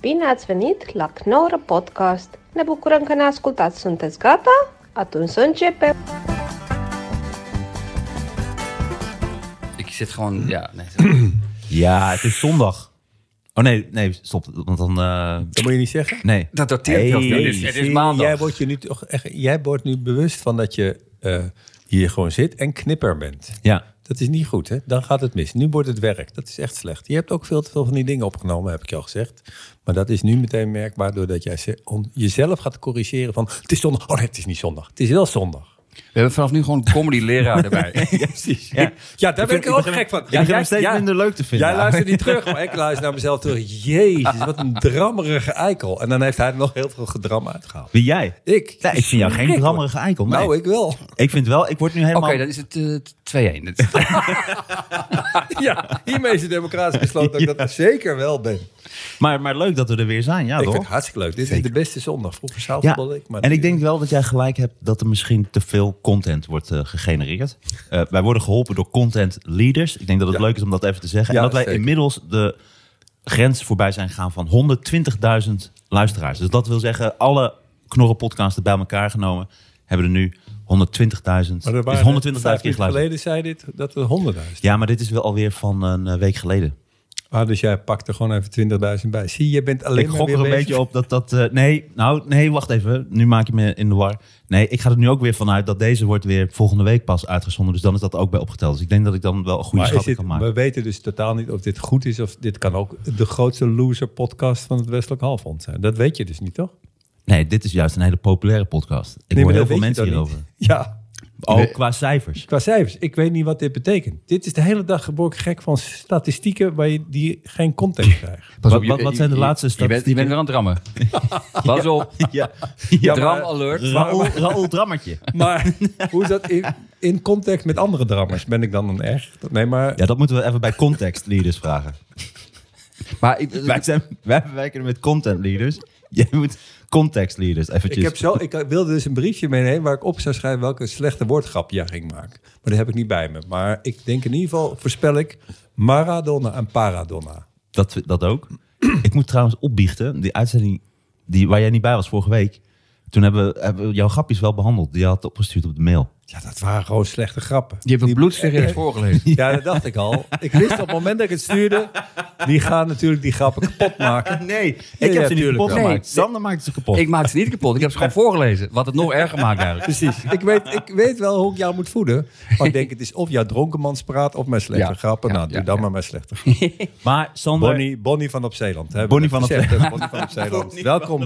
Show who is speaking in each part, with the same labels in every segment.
Speaker 1: Bine ați venit la Knorr Podcast! Ne bucurăm că ne ascultați. Sunteți gata? Atunci să începem!
Speaker 2: Ik zit gewoon, ja. Nee, zit-
Speaker 3: Ja, het is zondag. Oh nee, nee, stop. Want dan. eh,
Speaker 4: Dat moet je niet zeggen.
Speaker 3: nee.
Speaker 2: dat dateert hey,
Speaker 4: Hey,
Speaker 2: niet. Het is, het is
Speaker 4: zie,
Speaker 2: maandag.
Speaker 4: Jij wordt, je nu toch echt, jij wordt nu bewust van dat je eh, hier gewoon zit en knipper bent.
Speaker 3: Ja.
Speaker 4: Dat is niet goed, hè? Dan gaat het mis. Nu wordt het werk. Dat is echt slecht. Je hebt ook veel te veel van die dingen opgenomen, heb ik je al gezegd. Maar dat is nu meteen merkbaar doordat jij ze- om- jezelf gaat corrigeren van... Het is zondag. Oh nee, het is niet zondag. Het is wel zondag.
Speaker 2: We hebben vanaf nu gewoon comedy-leraar erbij.
Speaker 3: Ja, precies. Ja.
Speaker 4: Ja, daar ben ik,
Speaker 3: begin-
Speaker 4: ook
Speaker 3: begin-
Speaker 4: gek van.
Speaker 3: ik begin hem steeds minder leuk te vinden.
Speaker 4: Jij luistert niet terug, maar ik luister naar mezelf terug. Jezus, wat een drammerige eikel. En dan heeft hij er nog heel veel gedram uitgehaald.
Speaker 3: Wie jij?
Speaker 4: Ik?
Speaker 3: Nee, ik vind jou geen grammerige eikel. Nee.
Speaker 4: Nou, ik wel.
Speaker 3: ik vind wel, ik word nu helemaal.
Speaker 2: Oké, dan is het eh, 2-1. Dat is-
Speaker 4: Ja, hiermee is de democratisch besloten dat ik dat zeker wel ben.
Speaker 3: maar, maar leuk dat we er weer zijn. Ja,
Speaker 4: ik
Speaker 3: toch?
Speaker 4: vind het hartstikke leuk. Dit is de beste zondag. Vroeger
Speaker 3: Ja,
Speaker 4: zaalvoetbalde ik. Maar
Speaker 3: en ik denk wel dat jij gelijk hebt dat er misschien te veel content wordt eh, gegenereerd. Eh, wij worden geholpen door content leaders. Ik denk dat het
Speaker 4: Ja.
Speaker 3: leuk is om dat even te zeggen.
Speaker 4: Ja,
Speaker 3: en dat wij
Speaker 4: zeker.
Speaker 3: inmiddels de grens voorbij zijn gegaan van 120.000 luisteraars. Dus dat wil zeggen, alle knorren podcasten bij elkaar genomen hebben er nu 120.000.
Speaker 4: Maar
Speaker 3: Dus 120.000
Speaker 4: er waren vijf
Speaker 3: keer
Speaker 4: minuten
Speaker 3: geluisterd.
Speaker 4: geleden zei dit dat er 100.000.
Speaker 3: Ja, maar dit is wel alweer van een eh, week geleden.
Speaker 4: Ah, dus jij pakt er gewoon even 20.000 bij. Zie, je bent alleen
Speaker 3: ik
Speaker 4: maar
Speaker 3: gok
Speaker 4: weer
Speaker 3: er een
Speaker 4: bezig.
Speaker 3: beetje op dat dat... eh, nee, nou, nee, wacht even. Nu maak je me in de war. Nee, ik ga er nu ook weer vanuit dat deze wordt weer volgende week pas uitgezonden. Dus dan is dat ook bij opgeteld. Dus ik denk dat ik dan wel een goede
Speaker 4: Maar is
Speaker 3: schatting
Speaker 4: dit,
Speaker 3: kan maken.
Speaker 4: we weten dus totaal niet of dit goed is. Of dit kan ook de grootste loser podcast van het Westelijk Halfrond zijn. Dat weet je dus niet, toch?
Speaker 3: Nee, dit is juist een hele populaire podcast. Ik
Speaker 4: Nee,
Speaker 3: hoor
Speaker 4: maar
Speaker 3: heel
Speaker 4: dat
Speaker 3: veel
Speaker 4: weet je
Speaker 3: mensen
Speaker 4: dan
Speaker 3: hierover.
Speaker 4: niet. Ja,
Speaker 3: Ook
Speaker 2: Nee.
Speaker 3: qua cijfers.
Speaker 4: qua cijfers. Ik weet niet wat dit betekent. Dit is de hele dag geboren gek van statistieken waar je die geen context krijgt.
Speaker 2: Pas
Speaker 3: Wat-
Speaker 2: je-
Speaker 3: wat- wat zijn de
Speaker 2: je-
Speaker 3: laatste
Speaker 2: Je bent, je bent
Speaker 3: statistieken?
Speaker 2: weer aan het rammen. Pas op.
Speaker 3: Ja, ja
Speaker 4: maar-
Speaker 2: Dram alert.
Speaker 3: Raoul, Raoul Drammertje.
Speaker 4: Maar hoe is dat in, in context met andere drammers? Ben ik dan een echt? Nee, maar...
Speaker 3: Ja, dat moeten we even bij context leaders vragen.
Speaker 2: Maar ik,
Speaker 3: Wij, zijn, wij werken met content leaders. Jij moet context leaders eventjes.
Speaker 4: Ik, heb zo, ik wilde dus een briefje meenemen waar ik op zou schrijven welke slechte woordgrap jij ging maken. Maar dat heb ik niet bij me. Maar ik denk in ieder geval, voorspel ik, Maradona en Paradonna.
Speaker 3: Dat, dat ook. ik moet trouwens opbiechten. Die uitzending die, waar jij niet bij was vorige week. Toen hebben, we- hebben we jouw grapjes wel behandeld. Die je had opgestuurd op de mail.
Speaker 4: Ja, dat waren gewoon slechte grappen.
Speaker 2: je hebt een bloedserieus voorgelezen.
Speaker 4: Ja, dat dacht ik al. Ik wist op het moment dat ik het stuurde, die gaan natuurlijk die grappen kapot maken.
Speaker 3: Nee, ik
Speaker 4: ja,
Speaker 3: heb ze niet
Speaker 4: tuurlijk
Speaker 3: kapot
Speaker 2: wel.
Speaker 3: gemaakt.
Speaker 2: Nee.
Speaker 3: Sander maakte ze kapot.
Speaker 2: Ik maak ze niet kapot. Ik heb ze gewoon voorgelezen. Wat het nog erger maakt eigenlijk.
Speaker 4: Precies. Ik weet, ik weet wel hoe ik jou moet voeden. Maar ik denk, het is of jouw dronkenmanspraat of mijn slechte
Speaker 2: Ja,
Speaker 4: grappen.
Speaker 2: ja,
Speaker 4: Nou, doe
Speaker 2: ja,
Speaker 4: dan
Speaker 2: ja.
Speaker 4: maar mijn slechte grappen.
Speaker 3: maar Sander,
Speaker 4: Bonnie, Bonnie van op Zeeland. Hè?
Speaker 3: Bonnie van op
Speaker 4: Zegt het, Bonnie van op Zeeland. Welkom,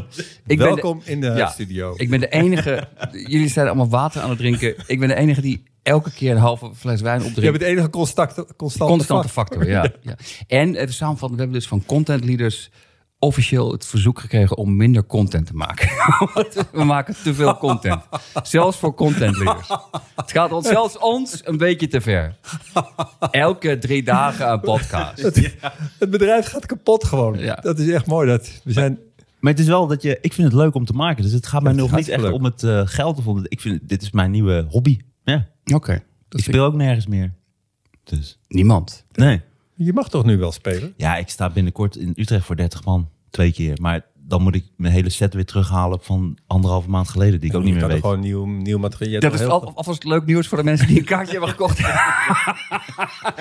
Speaker 2: Ik ben
Speaker 4: welkom in de
Speaker 2: Ja,
Speaker 4: studio.
Speaker 2: Ik ben de enige. Jullie zijn allemaal water aan het drinken. Ik ben de enige die elke keer een halve fles wijn opdrinkt.
Speaker 4: Je hebt het enige constante, constante,
Speaker 2: Constante
Speaker 4: vak.
Speaker 2: factor, ja. ja. En even samenvatten, we hebben dus van content leaders officieel het verzoek gekregen om minder content te maken. Want we maken te veel content. Zelfs voor content leaders. Het gaat ons, zelfs ons een beetje te ver. Elke drie dagen een podcast.
Speaker 4: Het bedrijf gaat kapot gewoon.
Speaker 2: Ja.
Speaker 4: Dat is echt mooi. Dat we zijn,
Speaker 3: maar het is wel dat je... Ik vind het leuk om te maken. Dus het gaat mij
Speaker 4: het
Speaker 3: nog
Speaker 4: gaat
Speaker 3: niet echt
Speaker 4: leuk.
Speaker 3: om het eh, geld. Of om het- ik vind, dit is mijn nieuwe hobby. Ja,
Speaker 2: Oké.
Speaker 3: ik speel ook nergens meer. Dus,
Speaker 2: Niemand.
Speaker 3: nee.
Speaker 4: je mag toch nu wel spelen?
Speaker 3: Ja, ik sta binnenkort in Utrecht voor 30 man. Twee keer. Maar dan moet ik mijn hele set weer terughalen van anderhalve maand geleden. Die ik ook niet
Speaker 4: je
Speaker 3: meer
Speaker 4: kan
Speaker 3: weet.
Speaker 4: er gewoon nieuw, nieuw materiaal.
Speaker 2: Dat is
Speaker 4: heel-
Speaker 2: al- alvast leuk nieuws voor de mensen die een kaartje hebben gekocht.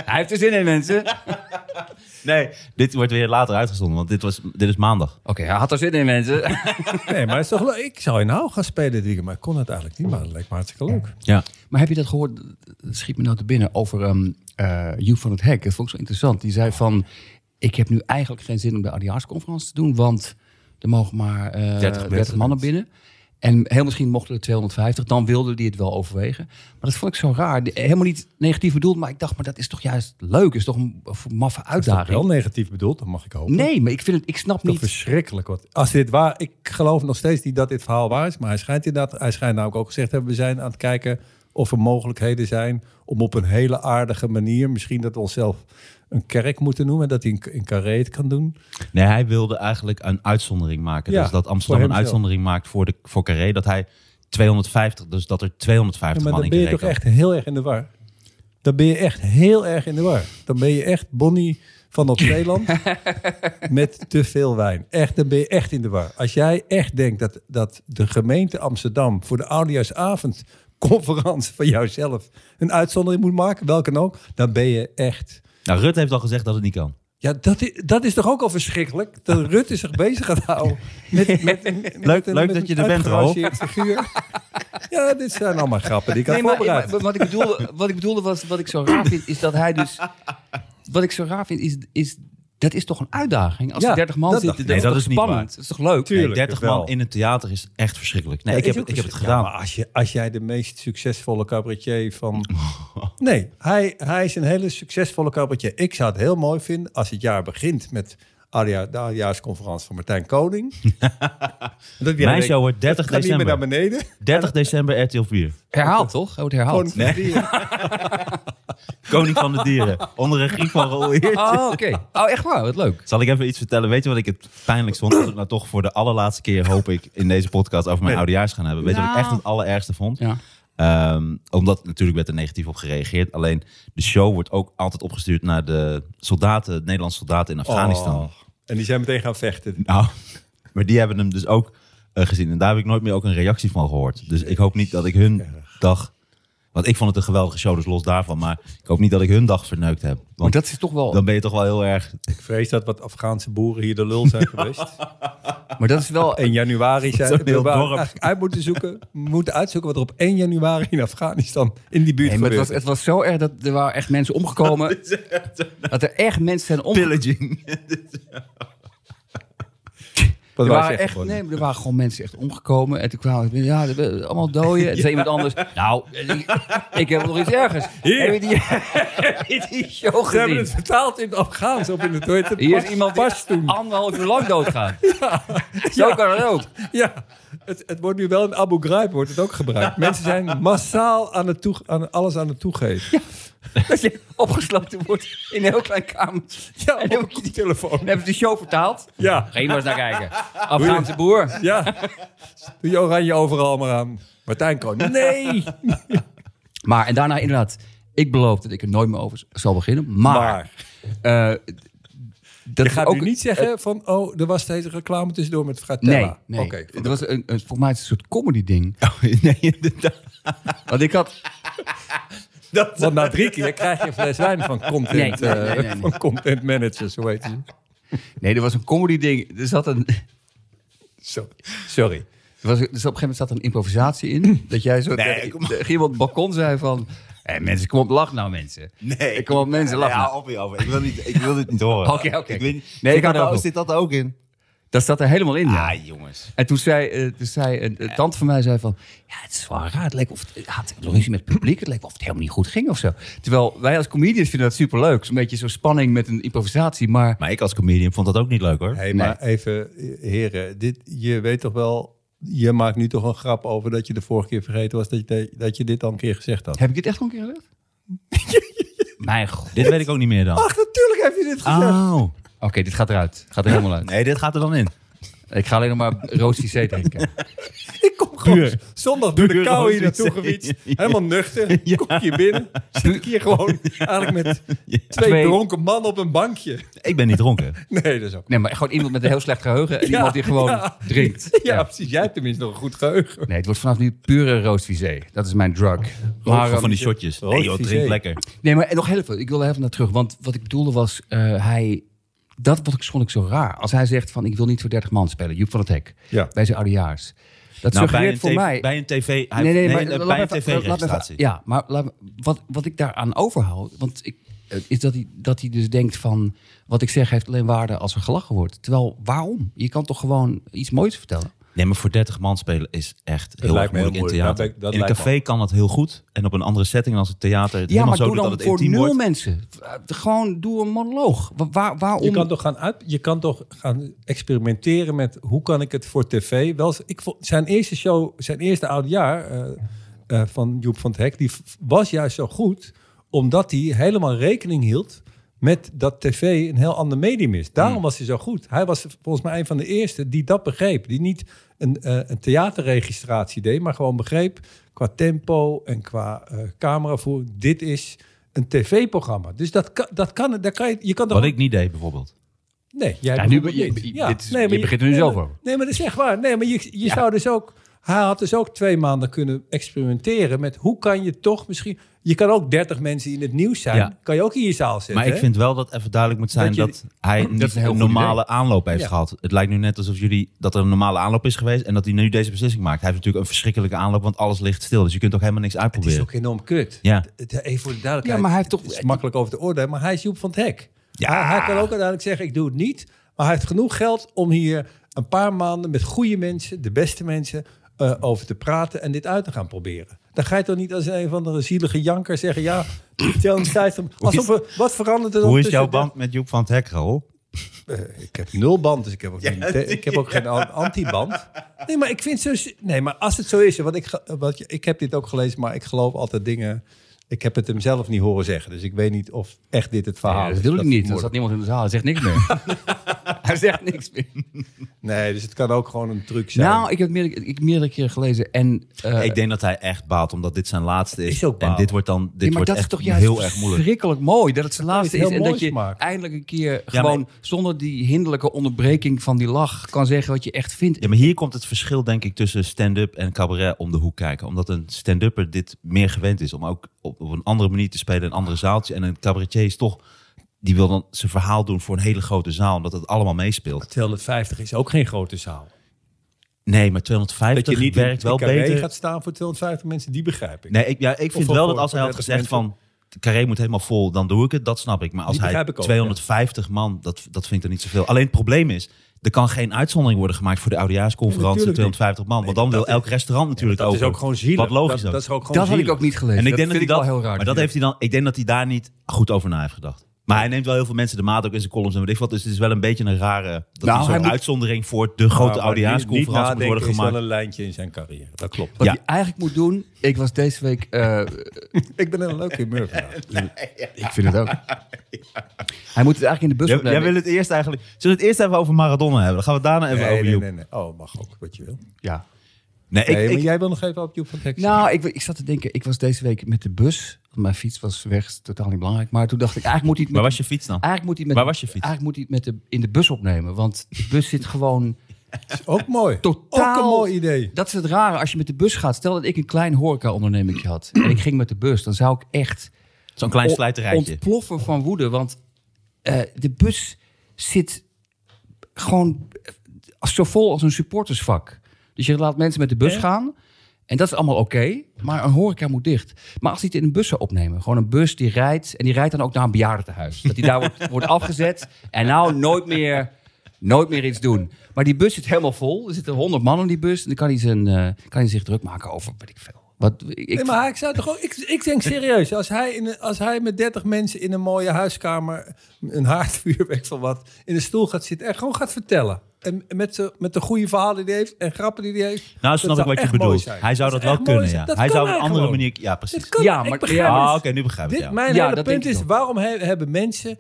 Speaker 2: Hij heeft er zin in, mensen. Oké,
Speaker 3: Nee, dit wordt weer later uitgezonden, want dit, was, dit is maandag.
Speaker 2: hij had er zin in, mensen.
Speaker 4: Nee, maar het is toch leuk. Ik zou in Hou gaan spelen dit weekend, maar ik kon het eigenlijk niet. Maar het lijkt me hartstikke leuk.
Speaker 3: Ja.
Speaker 2: Maar heb je dat gehoord? Dat schiet me nou te binnen over ehm eh, Joep van het Hek. Dat vond ik zo interessant. Die zei van, ik heb nu eigenlijk geen zin om de ADHD-conferentie te doen, want er mogen maar eh, 30,
Speaker 3: mensen
Speaker 2: mannen binnen. En heel misschien mochten er 250, dan wilden die het wel overwegen. Maar dat vond ik zo raar. De- Helemaal niet negatief bedoeld, maar ik dacht, maar dat is toch juist leuk? Is toch een maffe
Speaker 4: Dat is wel
Speaker 2: uitdaging?
Speaker 4: negatief bedoeld, dat mag ik hopen.
Speaker 2: Nee, maar ik, vind het, ik snap
Speaker 4: Toch
Speaker 2: niet.
Speaker 4: verschrikkelijk wat. Als dit waar, ik geloof nog steeds niet dat dit verhaal waar is, maar hij schijnt inderdaad, hij schijnt namelijk ook gezegd te hebben, we zijn aan het kijken of er mogelijkheden zijn om op een hele aardige manier, misschien dat we onszelf een kerk moeten noemen, dat hij een, een carré het kan doen.
Speaker 3: Nee, hij wilde eigenlijk een uitzondering maken.
Speaker 4: Ja,
Speaker 3: dus dat
Speaker 4: voor
Speaker 3: Amsterdam een
Speaker 4: hemzelf.
Speaker 3: uitzondering maakt voor, de, voor Carré. Dat hij 250, dus dat er 250
Speaker 4: maar
Speaker 3: man
Speaker 4: dan
Speaker 3: in
Speaker 4: ben je
Speaker 3: Carré
Speaker 4: toch
Speaker 3: kan.
Speaker 4: echt heel erg in de war. Dan ben je echt heel erg in de war. Dan ben je echt Bonnie vanaf Zeeland met te veel wijn. Echt, dan ben je echt in de war. Als jij echt denkt dat, dat de gemeente Amsterdam voor de oudejaarsavondconferentie van jouzelf een uitzondering moet maken, welke dan ook, dan ben je echt...
Speaker 3: Nou, Rut heeft al gezegd dat het niet kan.
Speaker 4: Ja, dat is, dat is toch ook al verschrikkelijk? Dat Rutte zich bezig gaat houden met, met, met, met
Speaker 3: Leuk-
Speaker 4: een-
Speaker 3: leuk
Speaker 4: met
Speaker 3: dat
Speaker 4: een
Speaker 3: je er bent, Ro.
Speaker 4: uitgerangeerd figuur. Ja, dit zijn allemaal grappen die ik had
Speaker 2: Nee, maar-
Speaker 4: voorbereid.
Speaker 2: maar wat ik bedoelde, wat ik bedoelde was, wat ik zo raar vind, is dat hij dus... Wat ik zo raar vind, is... is dat is toch een uitdaging? Als
Speaker 4: Ja,
Speaker 2: er 30 man
Speaker 4: dat
Speaker 2: zitten,
Speaker 4: dacht
Speaker 2: dat,
Speaker 3: Nee,
Speaker 4: ik.
Speaker 2: is
Speaker 3: dat
Speaker 2: toch
Speaker 3: is niet waar.
Speaker 2: spannend? Dat is toch leuk?
Speaker 4: Tuurlijk.
Speaker 3: Nee, 30
Speaker 4: wel.
Speaker 3: man in het theater is echt verschrikkelijk. Nee,
Speaker 4: Ja,
Speaker 3: ik, heb,
Speaker 4: is ook
Speaker 3: ik heb het
Speaker 4: zo. Ja,
Speaker 3: gedaan.
Speaker 4: maar als, je, als jij de meest succesvolle cabaretier van... Nee, hij, hij is een hele succesvolle cabaretier. Ik zou het heel mooi vinden als het jaar begint met Aria- de oudejaarsconferentie van Martijn Koning. dat jij
Speaker 3: Mijn
Speaker 4: denkt,
Speaker 3: show wordt 30
Speaker 4: Ga niet meer naar
Speaker 3: december. Oh,
Speaker 4: beneden.
Speaker 3: 30 december RTL 4.
Speaker 2: Herhaald, toch? Oh, Hij wordt herhaald.
Speaker 4: Koning van de Dieren.
Speaker 3: Koning van de dieren. Onder regie van Roel Heertje.
Speaker 2: Oh, oké. Oh, echt waar? Wat leuk.
Speaker 3: Zal ik even iets vertellen? Weet je wat ik het pijnlijkst vond? Dat we het nou toch voor de allerlaatste keer, hoop ik, in deze podcast over mijn oudejaars gaan hebben. Weet je wat ik
Speaker 2: Nou.
Speaker 3: echt het allerergste vond?
Speaker 2: Ja.
Speaker 3: Ehm, omdat natuurlijk werd er negatief op gereageerd. Alleen de show wordt ook altijd opgestuurd naar de soldaten, Nederlandse soldaten in Afghanistan.
Speaker 4: Oh. En die zijn meteen gaan vechten.
Speaker 3: Nou, maar die hebben hem dus ook eh, gezien. En daar heb ik nooit meer ook een reactie van gehoord. Dus ik hoop niet dat ik hun dag... Want ik vond het een geweldige show, dus los daarvan. Maar ik hoop niet dat ik hun dag verneukt heb.
Speaker 2: Maar
Speaker 3: Want
Speaker 2: dat is toch wel...
Speaker 3: dan ben je toch wel heel erg...
Speaker 4: Ik vrees dat wat Afghaanse boeren hier de lul zijn geweest.
Speaker 2: Maar dat is wel...
Speaker 4: In januari zijn
Speaker 3: Zo'n heel
Speaker 4: we
Speaker 3: dorp.
Speaker 4: eigenlijk uit moeten zoeken. We moeten uitzoeken wat er op 1 januari in Afghanistan in die buurt
Speaker 2: Nee, maar het
Speaker 4: gebeurt.
Speaker 2: was, het was zo erg dat er waren echt mensen omgekomen. Dat er echt mensen zijn omgekomen.
Speaker 3: Pillaging.
Speaker 4: Wat
Speaker 2: Er
Speaker 4: wij
Speaker 2: waren,
Speaker 4: zeggen
Speaker 2: echt,
Speaker 4: gewoon.
Speaker 2: nee, maar er waren gewoon mensen echt omgekomen. En toen kwamen we, ja, we- allemaal doden. En toen zei iemand anders, nou, ik, ik heb nog iets ergers. Heb je die, heb je die show
Speaker 4: Ze hebben het
Speaker 2: gezien?
Speaker 4: vertaald in het Afghaans op in het hoe heet het
Speaker 2: Hier is
Speaker 4: Pas-
Speaker 2: iemand die
Speaker 4: Pashtoen.
Speaker 2: anderhalf uur lang doodgaat. Zo kan het ook.
Speaker 4: Ja, het, het wordt nu wel in Abu Ghraib wordt het ook gebruikt. Mensen zijn massaal aan, het toe, aan alles aan het toegeven.
Speaker 2: Dat je opgesloten wordt in een heel klein kamertje.
Speaker 4: Ja,
Speaker 2: En
Speaker 4: op
Speaker 2: dan,
Speaker 4: je telefoon.
Speaker 2: dan hebben ze de show vertaald.
Speaker 4: Ja,
Speaker 2: Ga je maar eens naar kijken. Afghaanse boer.
Speaker 4: ja. Doe je oranje overal maar aan. Martijn Kroon. Nee.
Speaker 2: Maar, en daarna inderdaad, ik beloof dat ik er nooit meer over zal beginnen. Maar,
Speaker 4: Maar
Speaker 2: eh dat
Speaker 4: je
Speaker 2: is
Speaker 4: gaat
Speaker 2: ook
Speaker 4: nu niet zeggen van, oh, er was deze reclame tussendoor met
Speaker 2: Nee,
Speaker 4: Fratella.
Speaker 2: nee.
Speaker 4: Oké,
Speaker 2: het was een, een, volgens mij is het een soort comedy ding.
Speaker 3: Oh, nee, inderdaad.
Speaker 2: Want ik had...
Speaker 4: want na drie keer krijg je een fles wijn van content,
Speaker 2: Nee, nee, nee,
Speaker 4: eh,
Speaker 2: nee, nee.
Speaker 4: Van content managers, hoe heet die?
Speaker 2: Nee, er was een comedy ding. Er zat een...
Speaker 4: Zo. Sorry.
Speaker 2: Er was, dus op een gegeven moment zat er een improvisatie in. dat jij zo
Speaker 3: Nee,
Speaker 2: tegen
Speaker 3: kom op.
Speaker 2: tegen iemand op het balkon zei van... Hé, mensen, kom op, lach nou, mensen.
Speaker 3: Nee.
Speaker 2: Kom op, mensen, lach nou.
Speaker 3: Ja, op hierover. Ik wil, niet, ik wil dit niet horen.
Speaker 2: Oké, oké.
Speaker 3: Ik weet niet-
Speaker 2: Nee, ik
Speaker 3: zit,
Speaker 2: hou er
Speaker 3: dat,
Speaker 2: ook
Speaker 3: zit dat er ook in?
Speaker 2: Dat zat er helemaal in, ja.
Speaker 3: Ah, jongens.
Speaker 2: En toen zei, eh, toen zei een, een tante van mij zei van... Ja, het is wel raar. Het leek of het, het had ruzie met het publiek. Het leek of het helemaal niet goed ging of zo. Terwijl wij als comedians vinden dat superleuk. Zo'n beetje zo'n spanning met een improvisatie. Maar
Speaker 3: Maar ik als comedian vond dat ook niet leuk, hoor.
Speaker 4: Hey, maar even, eh, heren, dit, je weet toch wel, je maakt nu toch een grap over dat je de vorige keer vergeten was dat je, dat je dit al een keer gezegd had.
Speaker 2: heb ik dit echt al een keer gezegd? Mijn god.
Speaker 3: Dit weet ik ook niet meer dan.
Speaker 4: Ach, natuurlijk heb je
Speaker 2: Ah.
Speaker 4: dit gezegd.
Speaker 3: Oh.
Speaker 2: Oké, dit gaat eruit. Gaat er helemaal uit.
Speaker 3: Nee, dit gaat er dan in.
Speaker 2: Ik ga alleen nog maar roos C drinken.
Speaker 4: Ik kom gewoon
Speaker 3: Puur.
Speaker 4: zondag door de
Speaker 3: Puur
Speaker 4: kou hier naartoe
Speaker 3: romantisch.
Speaker 4: gefietst. Helemaal nuchter. Kom ik hier binnen. Zit ik hier gewoon eigenlijk met twee,
Speaker 2: Twee.
Speaker 4: dronken mannen op een bankje.
Speaker 3: Ik ben niet dronken.
Speaker 4: Nee, dat is ook...
Speaker 2: Nee, maar gewoon iemand met een heel slecht geheugen en
Speaker 4: Ja,
Speaker 2: iemand die gewoon
Speaker 4: ja.
Speaker 2: drinkt.
Speaker 4: Ja, precies. Jij hebt tenminste nog een goed geheugen.
Speaker 2: Nee, het wordt vanaf nu pure roos C. Dat is mijn drug. Maar,
Speaker 3: Maar
Speaker 2: ehm,
Speaker 3: van die shotjes.
Speaker 4: rood
Speaker 3: Nee, joh,
Speaker 4: visé.
Speaker 3: drink lekker. Nou,
Speaker 2: Nee, maar nog heel even. Ik wil er even naar terug. Want wat ik bedoelde was, eh, hij... Dat vond ik, vond ik zo raar. Als hij zegt van, ik wil niet voor 30 man spelen. Joep van het Hek.
Speaker 4: Ja.
Speaker 2: Bij zijn oudejaars. Dat
Speaker 3: Nou, bij
Speaker 2: suggereert
Speaker 3: een,
Speaker 2: voor
Speaker 3: tv
Speaker 2: mij...
Speaker 3: bij een tv... Hij,
Speaker 2: Nee, nee,
Speaker 3: nee,
Speaker 2: maar
Speaker 3: nee,
Speaker 2: laat me
Speaker 3: bij een
Speaker 2: even- laat me even-
Speaker 3: tv-registratie.
Speaker 2: Ja, maar laat me- wat, wat ik daaraan overhoud, want ik, eh, is dat hij, dat hij dus denkt van... wat ik zeg heeft alleen waarde als er gelachen wordt. Terwijl, waarom? Je kan toch gewoon iets moois vertellen?
Speaker 3: Nee, maar voor 30 man spelen is echt heel
Speaker 4: lijkt
Speaker 3: erg
Speaker 4: me heel
Speaker 3: moeilijk in
Speaker 4: moeilijk.
Speaker 3: theater.
Speaker 4: Dat lijkt- dat
Speaker 3: in een
Speaker 4: lijkt me
Speaker 3: café kan dat heel goed. En op een andere setting als het theater.
Speaker 2: Ja,
Speaker 3: Het helemaal
Speaker 2: maar
Speaker 3: zo
Speaker 2: doe
Speaker 3: doet
Speaker 2: dan
Speaker 3: dat het
Speaker 2: voor
Speaker 3: intiem
Speaker 2: nul
Speaker 3: wordt.
Speaker 2: mensen. Eh, Gewoon doe een monoloog. Wa- waar- waarom?
Speaker 4: Je kan, toch gaan uit, je kan toch gaan experimenteren met hoe kan ik het voor tv. Wel, eens- ik vond, zijn eerste show, zijn eerste oudjaar eh eh, van Joep van het Hek, die v- was juist zo goed, omdat hij helemaal rekening hield met dat tv een heel ander medium is. Daarom was hij zo goed. Hij was volgens mij een van de eerste die dat begreep. Die niet een, eh, een theaterregistratie deed, maar gewoon begreep qua tempo en qua eh cameravoer. Dit is een tv-programma. Dus dat kan, dat kan, daar kan je, je kan toch
Speaker 3: Wat ik niet deed bijvoorbeeld.
Speaker 4: Nee, jij
Speaker 2: Ja, nu,
Speaker 4: bijvoorbeeld
Speaker 2: je-
Speaker 4: niet.
Speaker 2: je- dit is- je begint er nu
Speaker 4: nee,
Speaker 2: zelf
Speaker 4: maar-
Speaker 2: over.
Speaker 4: Nee, maar dat is echt waar. Nee, maar je, je zou dus ook... Hij had dus ook twee maanden kunnen experimenteren met hoe kan je toch misschien... Je kan ook 30 mensen in het nieuws zijn.
Speaker 3: Ja.
Speaker 4: Kan je ook in je zaal zetten.
Speaker 3: Maar ik
Speaker 4: hè?
Speaker 3: vind wel dat even duidelijk moet zijn
Speaker 4: Dat je-
Speaker 3: dat, hij
Speaker 2: is
Speaker 3: niet
Speaker 2: een heel
Speaker 3: een
Speaker 2: goed
Speaker 3: normale aanloop heeft
Speaker 4: Ja.
Speaker 3: gehad. Het lijkt nu net alsof jullie dat er een normale aanloop is geweest en dat hij nu deze beslissing maakt. Hij heeft natuurlijk een verschrikkelijke aanloop, want alles ligt stil. Dus je kunt ook helemaal niks
Speaker 4: Het is
Speaker 3: uitproberen.
Speaker 4: ook enorm kut.
Speaker 3: Ja.
Speaker 4: Het- het- Even voor de duidelijkheid.
Speaker 2: Ja, maar hij heeft
Speaker 4: het
Speaker 2: toch-
Speaker 4: is makkelijk over te oordelen, maar hij is Joep van het Hek.
Speaker 3: Ja.
Speaker 4: Hij, hij kan ook uiteindelijk zeggen, ik doe het niet. Maar hij heeft genoeg geld om hier een paar maanden met goede mensen, de beste mensen, eh, over te praten en dit uit te gaan proberen. Dan ga je toch niet als een van de zielige janker zeggen, ja, Joan Dijsselbloem, alsof we, wat verandert er dan
Speaker 3: Hoe is
Speaker 4: tussen
Speaker 3: jouw
Speaker 4: de-
Speaker 3: band met Joep van het Hek, Raoul?
Speaker 4: Eh, ik heb nul band, dus ik heb ook, niet- ik heb ook geen an- antiband. Nee, maar ik vind zo. Nee, maar als het zo is, want ik, ge- wat, je- ik heb dit ook gelezen, maar ik geloof altijd dingen. Ik heb het hem zelf niet horen zeggen, dus ik weet niet of echt dit het verhaal
Speaker 2: Ja,
Speaker 4: is.
Speaker 2: dat wil ik niet. Er
Speaker 4: vermoorden.
Speaker 2: zat niemand in de zaal. Hij zegt niks meer. hij zegt niks meer.
Speaker 4: Nee, dus het kan ook gewoon een truc zijn.
Speaker 2: Nou, ik heb het meerdere, ik, meerdere keren gelezen. En, eh,
Speaker 3: ik denk dat hij echt baalt, omdat dit zijn laatste is.
Speaker 4: Is ook
Speaker 3: en
Speaker 4: baal.
Speaker 3: dit wordt dan dit
Speaker 2: ja, maar
Speaker 3: wordt
Speaker 2: dat
Speaker 3: echt
Speaker 2: is toch juist
Speaker 3: heel erg moeilijk.
Speaker 2: verschrikkelijk mooi. Dat het zijn laatste
Speaker 4: iets
Speaker 2: is.
Speaker 4: heel
Speaker 2: En dat
Speaker 4: moois
Speaker 2: je
Speaker 4: maken.
Speaker 2: eindelijk een keer
Speaker 3: maar-
Speaker 2: gewoon zonder die hinderlijke onderbreking van die lach kan zeggen wat je echt vindt.
Speaker 3: Ja, maar hier komt het verschil, denk ik, tussen stand-up en cabaret om de hoek kijken. Omdat een stand-upper dit meer gewend is om ook op, op een andere manier te spelen in een andere zaaltje. En een cabaretier is toch, die wil dan zijn verhaal doen voor een hele grote zaal, omdat het allemaal meespeelt.
Speaker 4: 250 is ook geen grote zaal.
Speaker 3: Nee, maar 250
Speaker 4: in
Speaker 3: werkt wel
Speaker 4: TKW
Speaker 3: beter.
Speaker 4: gaat staan voor 250 mensen, die begrijp ik.
Speaker 3: Nee, ik, ja, ik vind
Speaker 4: voor-
Speaker 3: wel dat
Speaker 4: voor-
Speaker 3: als hij
Speaker 4: voor
Speaker 3: had
Speaker 4: 30
Speaker 3: gezegd van, carré moet helemaal vol, dan doe ik het. Dat snap ik. Maar als
Speaker 4: Die
Speaker 3: hij
Speaker 4: begrijp ik ook,
Speaker 3: 250 man, dat, dat vind ik er niet zoveel. Alleen het probleem is, er kan geen uitzondering worden gemaakt voor de oudejaarsconferentie
Speaker 4: Natuurlijk
Speaker 3: 250 man. Want dan wil elk restaurant natuurlijk
Speaker 4: dat is
Speaker 3: over.
Speaker 4: ook gewoon zielig.
Speaker 3: Wat logisch
Speaker 4: dat,
Speaker 3: ook.
Speaker 4: dat is ook gewoon
Speaker 2: Dat had ik
Speaker 4: zielig. Nou,
Speaker 2: ook niet gelezen.
Speaker 3: En ik
Speaker 2: dat
Speaker 3: denk dat,
Speaker 2: vind
Speaker 3: hij
Speaker 2: ik
Speaker 3: dat,
Speaker 2: wel heel raar.
Speaker 3: Maar dat heeft hij dan, ik denk dat hij daar niet goed over na heeft gedacht. Maar hij neemt wel heel veel mensen de maat ook in zijn columns en weet ik wat. Dus het is wel een beetje een rare dat
Speaker 2: hij
Speaker 3: het een
Speaker 4: Nou,
Speaker 3: soort
Speaker 2: moet-
Speaker 3: uitzondering voor de
Speaker 4: Maar-
Speaker 3: grote
Speaker 4: maar niet- niet
Speaker 3: oudejaarsconferentie moet
Speaker 4: nadenken
Speaker 3: worden
Speaker 4: is
Speaker 3: gemaakt.
Speaker 4: wel een lijntje in zijn carrière. Dat klopt.
Speaker 2: Wat
Speaker 3: Ja.
Speaker 2: hij eigenlijk moet doen. Ik was deze week. eh,
Speaker 4: Ik ben een leuke humeur vandaag.
Speaker 2: ik vind het ook. Hij moet het eigenlijk in de bus
Speaker 3: Jij,
Speaker 2: opnemen.
Speaker 3: jij wil het eerst eigenlijk... Zullen we het eerst even over Maradona hebben? Dan gaan we het daarna even
Speaker 4: Nee,
Speaker 3: over
Speaker 4: nee,
Speaker 3: Joep.
Speaker 4: nee, nee. Oh, mag ook wat je wil.
Speaker 2: Ja.
Speaker 3: Nee, ik,
Speaker 4: nee, maar
Speaker 3: ik-
Speaker 4: jij wil nog even op Joep van het Hek zitten.
Speaker 2: Nou, ik, ik zat te denken. Ik was deze week met de bus. want Mijn fiets was weg. is Totaal niet belangrijk. Maar toen dacht ik. Eigenlijk moet hij het met
Speaker 3: Waar was je fiets dan?
Speaker 2: Eigenlijk moet hij met,
Speaker 3: Waar was je fiets?
Speaker 2: Eigenlijk moet hij het met de, in de bus opnemen. Want de bus zit gewoon
Speaker 4: is ook mooi.
Speaker 2: totaal...
Speaker 4: Ook een mooi idee.
Speaker 2: Dat is het rare als je met de bus gaat. Stel dat ik een klein horecaonderneming had. En ik ging met de bus. Dan zou ik echt
Speaker 3: Zo'n klein
Speaker 2: on-
Speaker 3: slijterijtje.
Speaker 2: ontploffen van woede. Want eh, de bus zit gewoon eh, zo vol als een supportersvak. Dus je laat mensen met de bus gaan. En dat is allemaal oké. maar een horeca moet dicht. Maar als die het in een bus zou opnemen. Gewoon een bus die rijdt. En die rijdt dan ook naar een bejaardentehuis. Dat die daar wordt, wordt afgezet. En nou nooit meer, nooit meer iets doen. Maar die bus zit helemaal vol. Er zitten honderd man in die bus. En dan kan hij, zijn, eh, kan hij zich druk maken over, weet ik veel. Wat, ik,
Speaker 4: Nee, maar ik zou toch ook, ik, ik denk serieus, als hij, in een- als hij met 30 mensen in een mooie huiskamer, een haardvuur, weet ik veel wat, in een stoel gaat zitten en gewoon gaat vertellen. En met de, met de goede verhalen die hij heeft en grappen die hij heeft.
Speaker 3: Nou,
Speaker 4: dat
Speaker 3: snap ik
Speaker 4: zou
Speaker 3: wat je
Speaker 4: echt mooi
Speaker 3: bedoelt.
Speaker 4: zijn.
Speaker 3: Hij zou
Speaker 4: Dat
Speaker 3: dat, wel
Speaker 4: is echt mooi
Speaker 3: kunnen,
Speaker 4: zijn.
Speaker 3: ja.
Speaker 4: Dat
Speaker 3: hij
Speaker 4: kan
Speaker 3: zou op een
Speaker 4: hij
Speaker 3: andere
Speaker 4: gewoon.
Speaker 3: manier... Ja, precies.
Speaker 4: Dit kan,
Speaker 2: Ja,
Speaker 4: ja, maar,
Speaker 2: maar-
Speaker 4: ik begrijp
Speaker 2: ja.
Speaker 3: Ah,
Speaker 4: het.
Speaker 3: oké, nu begrijp ik
Speaker 4: Dit,
Speaker 3: ja.
Speaker 4: Mijn
Speaker 2: Ja,
Speaker 4: hele
Speaker 2: dat denk
Speaker 4: punt
Speaker 2: ik
Speaker 4: is,
Speaker 2: ook.
Speaker 4: waarom he- hebben mensen...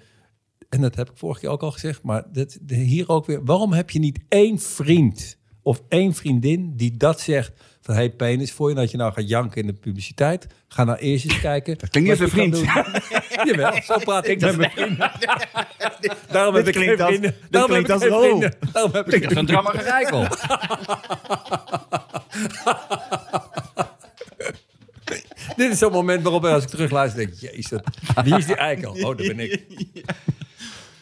Speaker 4: En dat heb ik vorige keer ook al gezegd, maar dat, de- hier ook weer. Waarom heb je niet één vriend of één vriendin die dat zegt... van, hey, penis, voor je dat je nou gaat janken in de publiciteit... ga nou eerst eens kijken... Dat
Speaker 2: klinkt niet als een
Speaker 4: Jawel, zo praat ik met mijn vrienden. Daarom heb
Speaker 3: Dit
Speaker 4: ik geen
Speaker 3: klinkt als-
Speaker 4: vrienden.
Speaker 3: dit
Speaker 4: Daarom heb
Speaker 3: klinkt
Speaker 4: ik
Speaker 3: als
Speaker 4: geen
Speaker 3: een rol.
Speaker 4: vrienden. Daarom heb
Speaker 2: Ik
Speaker 4: ik
Speaker 2: dacht, een drammer gereikel.
Speaker 4: Dit is zo'n moment waarop als ik terugluister denk ik... Jezus, wie is die eikel? Oh, dat ben ik.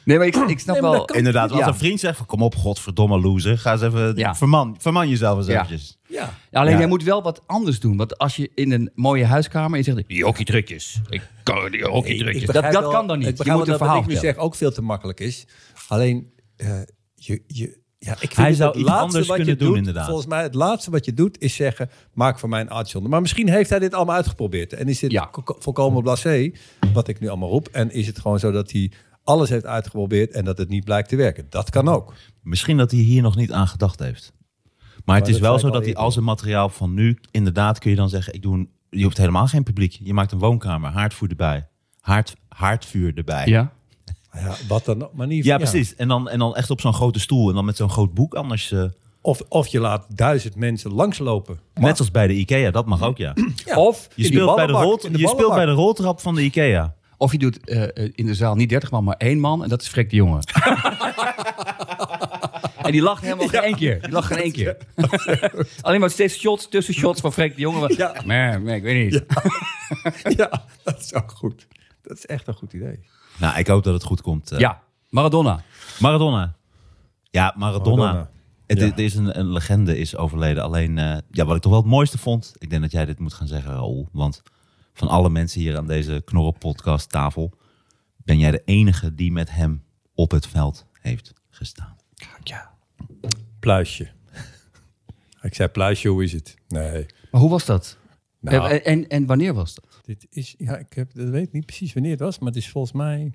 Speaker 2: Nee, maar ik, ik snap
Speaker 4: Nee, maar dat
Speaker 2: wel...
Speaker 4: kan-
Speaker 3: Inderdaad, als
Speaker 2: Ja.
Speaker 3: een vriend zegt van... Kom op, godverdomme loser. Ga eens even...
Speaker 2: Ja.
Speaker 3: Verman, verman jezelf eens
Speaker 2: Ja.
Speaker 3: eventjes.
Speaker 4: Ja.
Speaker 2: Ja, alleen
Speaker 3: Ja.
Speaker 2: jij moet wel wat anders doen. Want als je in een mooie huiskamer... en je zegt, die hockeytrucjes. Ik kan die hockeytrucjes.
Speaker 4: Ik
Speaker 2: dat
Speaker 4: begrijp
Speaker 2: dat
Speaker 4: wel-
Speaker 2: kan dan
Speaker 4: Ik
Speaker 2: niet. Je
Speaker 4: begrijp
Speaker 2: moet
Speaker 4: wel
Speaker 2: een
Speaker 4: dat wat
Speaker 2: verhaal
Speaker 4: ik nu
Speaker 2: vertellen.
Speaker 4: zeg ook veel te makkelijk is. Alleen, eh, je, je, ja, ik vind
Speaker 3: Hij
Speaker 4: het
Speaker 3: zou
Speaker 4: het
Speaker 3: iets
Speaker 4: laatste
Speaker 3: anders
Speaker 4: wat je
Speaker 3: kunnen doen,
Speaker 4: doet,
Speaker 3: inderdaad.
Speaker 4: Volgens mij het laatste wat je doet is zeggen, maak voor mij een uitzondering. Maar misschien heeft hij dit allemaal uitgeprobeerd. En is dit
Speaker 2: Ja.
Speaker 4: vo- volkomen blasé, wat ik nu allemaal roep. En is het gewoon zo dat hij alles heeft uitgeprobeerd en dat het niet blijkt te werken. Dat kan ook.
Speaker 3: Misschien dat hij hier nog niet aan gedacht heeft. Maar het
Speaker 4: Maar
Speaker 3: is
Speaker 4: dat
Speaker 3: wel
Speaker 4: zei
Speaker 3: zo
Speaker 4: ik al
Speaker 3: dat hij
Speaker 4: eerder.
Speaker 3: al zijn materiaal van nu... Inderdaad kun je dan zeggen... Ik doe een, je hoeft helemaal geen publiek. Je maakt een woonkamer. Haardvuur erbij. Haard, haardvuur erbij.
Speaker 2: Ja.
Speaker 4: Ja, wat dan ook. Maar niet,
Speaker 3: Ja, precies. En dan, en dan echt op zo'n grote stoel. En dan met zo'n groot boek anders. eh,
Speaker 4: Of, of je laat duizend mensen langslopen.
Speaker 3: net zoals bij de Ikea. Dat mag ook, ja.
Speaker 4: Ja.
Speaker 2: Of
Speaker 3: Je
Speaker 4: In die
Speaker 3: speelt, bij de
Speaker 4: ballenbak,
Speaker 3: rolt,
Speaker 4: in de
Speaker 3: je speelt bij
Speaker 4: ballenbak.
Speaker 3: de roltrap van de IKEA.
Speaker 2: Of je doet eh, eh, in de zaal niet 30 man, maar één man. En dat is Freek de Jonge. en die lacht helemaal geen één keer. Die lacht geen één keer. Alleen maar steeds shots, tussen shots van Freek de Jonge.
Speaker 4: Ja.
Speaker 2: Nee, nee, ik weet niet.
Speaker 4: ja, dat is ook goed. Dat is echt een goed idee.
Speaker 3: Nou, ik hoop dat het goed komt. eh.
Speaker 2: Ja, Maradona.
Speaker 3: Maradona. Ja, Maradona.
Speaker 4: Maradona.
Speaker 3: Het,
Speaker 4: Ja.
Speaker 3: het is een, een legende is overleden. Alleen, eh, ja, wat ik toch wel het mooiste vond. Ik denk dat jij dit moet gaan zeggen, Raoul. Want van alle mensen hier aan deze podcast tafel... ben jij de enige die met hem op het veld heeft gestaan.
Speaker 4: Pluisje. ik zei pluisje, hoe is het? Nee.
Speaker 2: Maar hoe was dat?
Speaker 4: Nou.
Speaker 2: En, en, en wanneer was dat?
Speaker 4: Dit is, ja, ik heb, dat weet ik niet precies wanneer het was, maar het is volgens mij,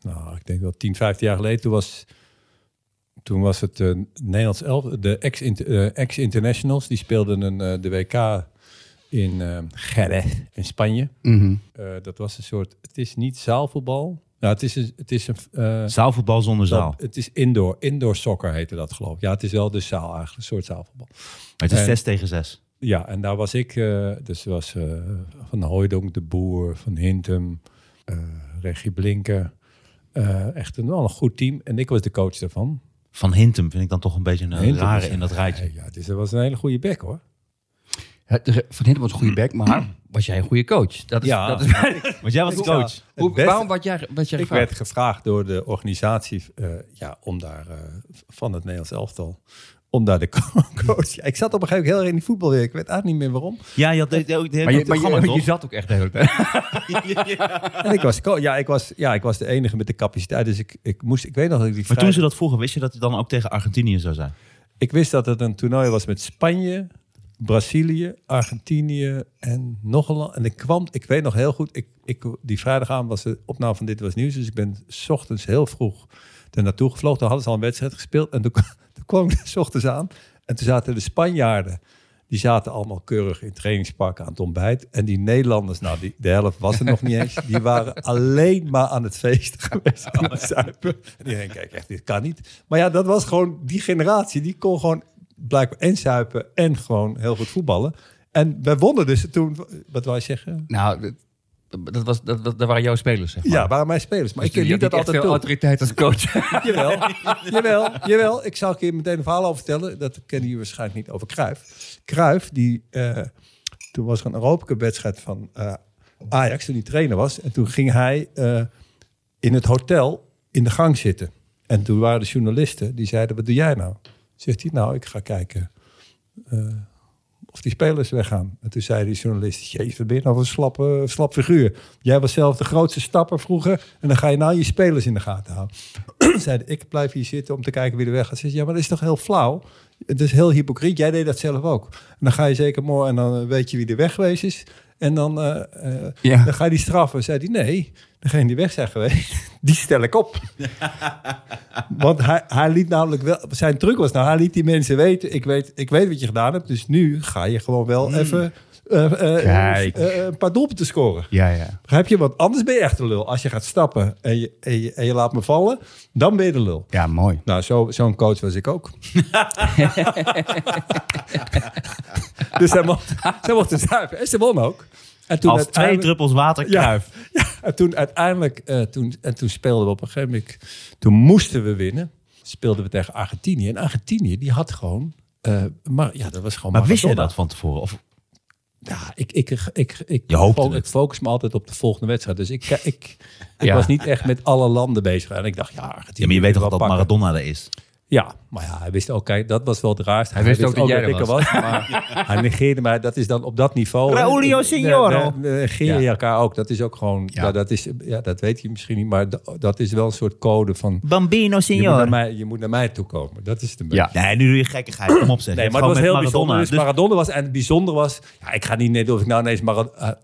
Speaker 4: nou, ik denk wel 10, 15 jaar geleden. Toen was, toen was het eh, Nederlands elf, de ex- int- eh, ex-internationals, die speelden een, eh, de WK in eh Jerez in Spanje. Eh, dat was een soort, het is niet zaalvoetbal. Nou, het is een, het is een eh,
Speaker 3: Zaalvoetbal zonder zaal.
Speaker 4: dat- het is indoor, indoor soccer heette dat geloof ik. Ja, het is wel de zaal eigenlijk, een soort zaalvoetbal.
Speaker 3: Maar het is
Speaker 4: En-
Speaker 3: 6 tegen 6.
Speaker 4: Ja, en daar was ik. eh, dus er was eh, Van Hooijdonk, De Boer, Van Hintem, eh, Regie Blinken. Eh, echt een, wel een goed team. En ik was de coach daarvan.
Speaker 3: Van Hintem vind ik dan toch een beetje een
Speaker 4: Hintem
Speaker 3: rare
Speaker 4: is-
Speaker 3: in dat rijtje.
Speaker 4: Nee, ja, dus dat was een hele goede back hoor.
Speaker 2: Van Hintem was een goede back, maar was jij een goede coach? Dat is,
Speaker 4: Ja.
Speaker 2: dat is,
Speaker 3: Want jij was de coach.
Speaker 4: Ja,
Speaker 2: hoe,
Speaker 4: het beste-
Speaker 2: waarom werd jij, werd jij
Speaker 4: ik
Speaker 2: gevraagd?
Speaker 4: werd gevraagd door de organisatie eh, ja, om daar, eh, van het Nederlands elftal om daar de co- coach. Ja, ik zat op een gegeven moment heel erg in die voetbal weer. Ik weet eigenlijk niet meer waarom.
Speaker 3: Ja, je had de, de, de,
Speaker 2: Maar, je, maar je-
Speaker 3: programma,
Speaker 2: je
Speaker 3: toch?
Speaker 2: zat ook echt de hele tijd.
Speaker 4: En ik was, co- ja, ik was, ja, ik was de enige met de capaciteit. Dus ik, ik moest, ik weet nog dat ik die
Speaker 3: Maar toen
Speaker 4: vrijdag-
Speaker 3: ze dat vroegen, wist je dat het dan ook tegen Argentinië zou zijn?
Speaker 4: Ik wist dat het een toernooi was met Spanje, Brazilië, Argentinië en nog een land. En ik kwam, ik weet nog heel goed, ik, ik, die vrijdagavond was de opname van Dit Was Nieuws. Dus ik ben s ochtends heel vroeg er naartoe gevlogen. Toen hadden ze al een wedstrijd gespeeld. En toen, toen kwam ik s ochtends aan. En toen zaten de Spanjaarden, die zaten allemaal keurig in trainingspakken aan het ontbijt. En die Nederlanders, nou die, de helft was er nog niet eens. Die waren alleen maar aan het feesten geweest. aan het zuipen. En iedereen kijk echt, dit kan niet. Maar ja, dat was gewoon die generatie. Die kon gewoon blijkbaar en zuipen en gewoon heel goed voetballen. En wij wonnen dus toen, wat wou je zeggen?
Speaker 2: Nou, dat, dat, was, dat, dat, dat waren jouw spelers, zeg maar.
Speaker 4: Ja, waren mijn spelers. Maar
Speaker 2: Dus
Speaker 4: ik ken
Speaker 2: je
Speaker 4: niet
Speaker 2: had
Speaker 4: dat altijd
Speaker 2: echt veel
Speaker 4: toe.
Speaker 2: autoriteit als coach.
Speaker 4: Jawel, jawel, jawel. Ik zal een keer meteen een verhaal over vertellen. Dat kennen jullie waarschijnlijk niet over Kruif. Kruif, die eh, toen was er een Europa wedstrijd van eh, Ajax toen hij trainer was. En toen ging hij eh, in het hotel in de gang zitten. En toen waren de journalisten die zeiden: Wat doe jij nou? Zegt hij: Nou, ik ga kijken of die spelers weggaan. En toen zei die journalist, jezus, wat ben je nou voor een slappe, slap figuur? Jij was zelf de grootste stapper vroeger en dan ga je nou je spelers in de gaten houden. zei hij, ik blijf hier zitten om te kijken wie er weg gaat. Zei, ja, maar dat is toch heel flauw? Het is heel hypocriet, jij deed dat zelf ook. En dan ga je zeker morgen en dan eh, weet je wie er weg geweest is. En dan, eh, eh,
Speaker 2: Ja.
Speaker 4: dan ga je die straffen. Zei hij, nee, degene die weg zijn geweest, die stel ik op. Want hij, hij liet namelijk wel... Zijn truc was nou, hij liet die mensen weten... Ik weet, ik weet wat je gedaan hebt, dus nu ga je gewoon wel even... eh, eh,
Speaker 2: Kijk.
Speaker 4: eh, een paar doelpunten scoren.
Speaker 2: Ja, ja.
Speaker 4: Begrijp je? Want anders ben je echt een lul. Als je gaat stappen en je, en je, en je laat me vallen, dan ben je de lul.
Speaker 2: Ja, mooi.
Speaker 4: Nou, zo- zo'n coach was ik ook. dus hij mocht, hij mocht het zuipen. En ze won ook. En toen
Speaker 3: Als twee
Speaker 4: uiteindelijk-
Speaker 3: druppels water
Speaker 4: ja,
Speaker 3: kruif.
Speaker 4: ja, en toen uiteindelijk, eh, toen, en toen speelden we op een gegeven moment, toen moesten we winnen. Speelden we tegen Argentinië. En Argentinië, die had gewoon, eh, maar ja, dat was gewoon
Speaker 3: Maar wist jij
Speaker 4: Maradona.
Speaker 3: dat van tevoren? Of
Speaker 4: Ja, ik, ik, ik, ik, ik,
Speaker 3: Je hoopte
Speaker 4: fo-
Speaker 3: het.
Speaker 4: ik focus me altijd op de volgende wedstrijd. Dus ik, ik, ik
Speaker 2: Ja.
Speaker 4: was niet echt met alle landen bezig. En ik dacht, ja, Argentinië.
Speaker 3: ja, maar je weet toch
Speaker 4: wel
Speaker 3: dat
Speaker 4: pakken.
Speaker 3: Maradona er is?
Speaker 4: Ja, maar ja, hij wist ook, kijk, dat was wel het raarst.
Speaker 2: Hij wist ook dat jij er
Speaker 4: ik er was. Maar hij negeerde mij, dat is dan op dat niveau.
Speaker 3: Raulio
Speaker 4: Eh,
Speaker 3: Signoro.
Speaker 4: eh, eh, Negeer je
Speaker 2: Ja.
Speaker 4: elkaar ook. Dat is ook gewoon, ja. dat, is, ja, dat weet je misschien niet, maar d- dat is wel een soort code van...
Speaker 3: Bambino
Speaker 4: Je moet, naar
Speaker 3: signor.
Speaker 4: mij, je moet naar mij toe komen. Dat is het een beetje.
Speaker 2: Ja.
Speaker 3: Nee, nu doe je gekkigheid. Kom op zeg.
Speaker 4: Nee,
Speaker 3: Je
Speaker 4: maar
Speaker 3: hebt
Speaker 4: het was heel
Speaker 3: gewoon met
Speaker 4: bijzonder. Dus
Speaker 3: Dus-
Speaker 4: Maradona was en het bijzonder was. Ja, ik ga niet net of ik nou ineens Maradona.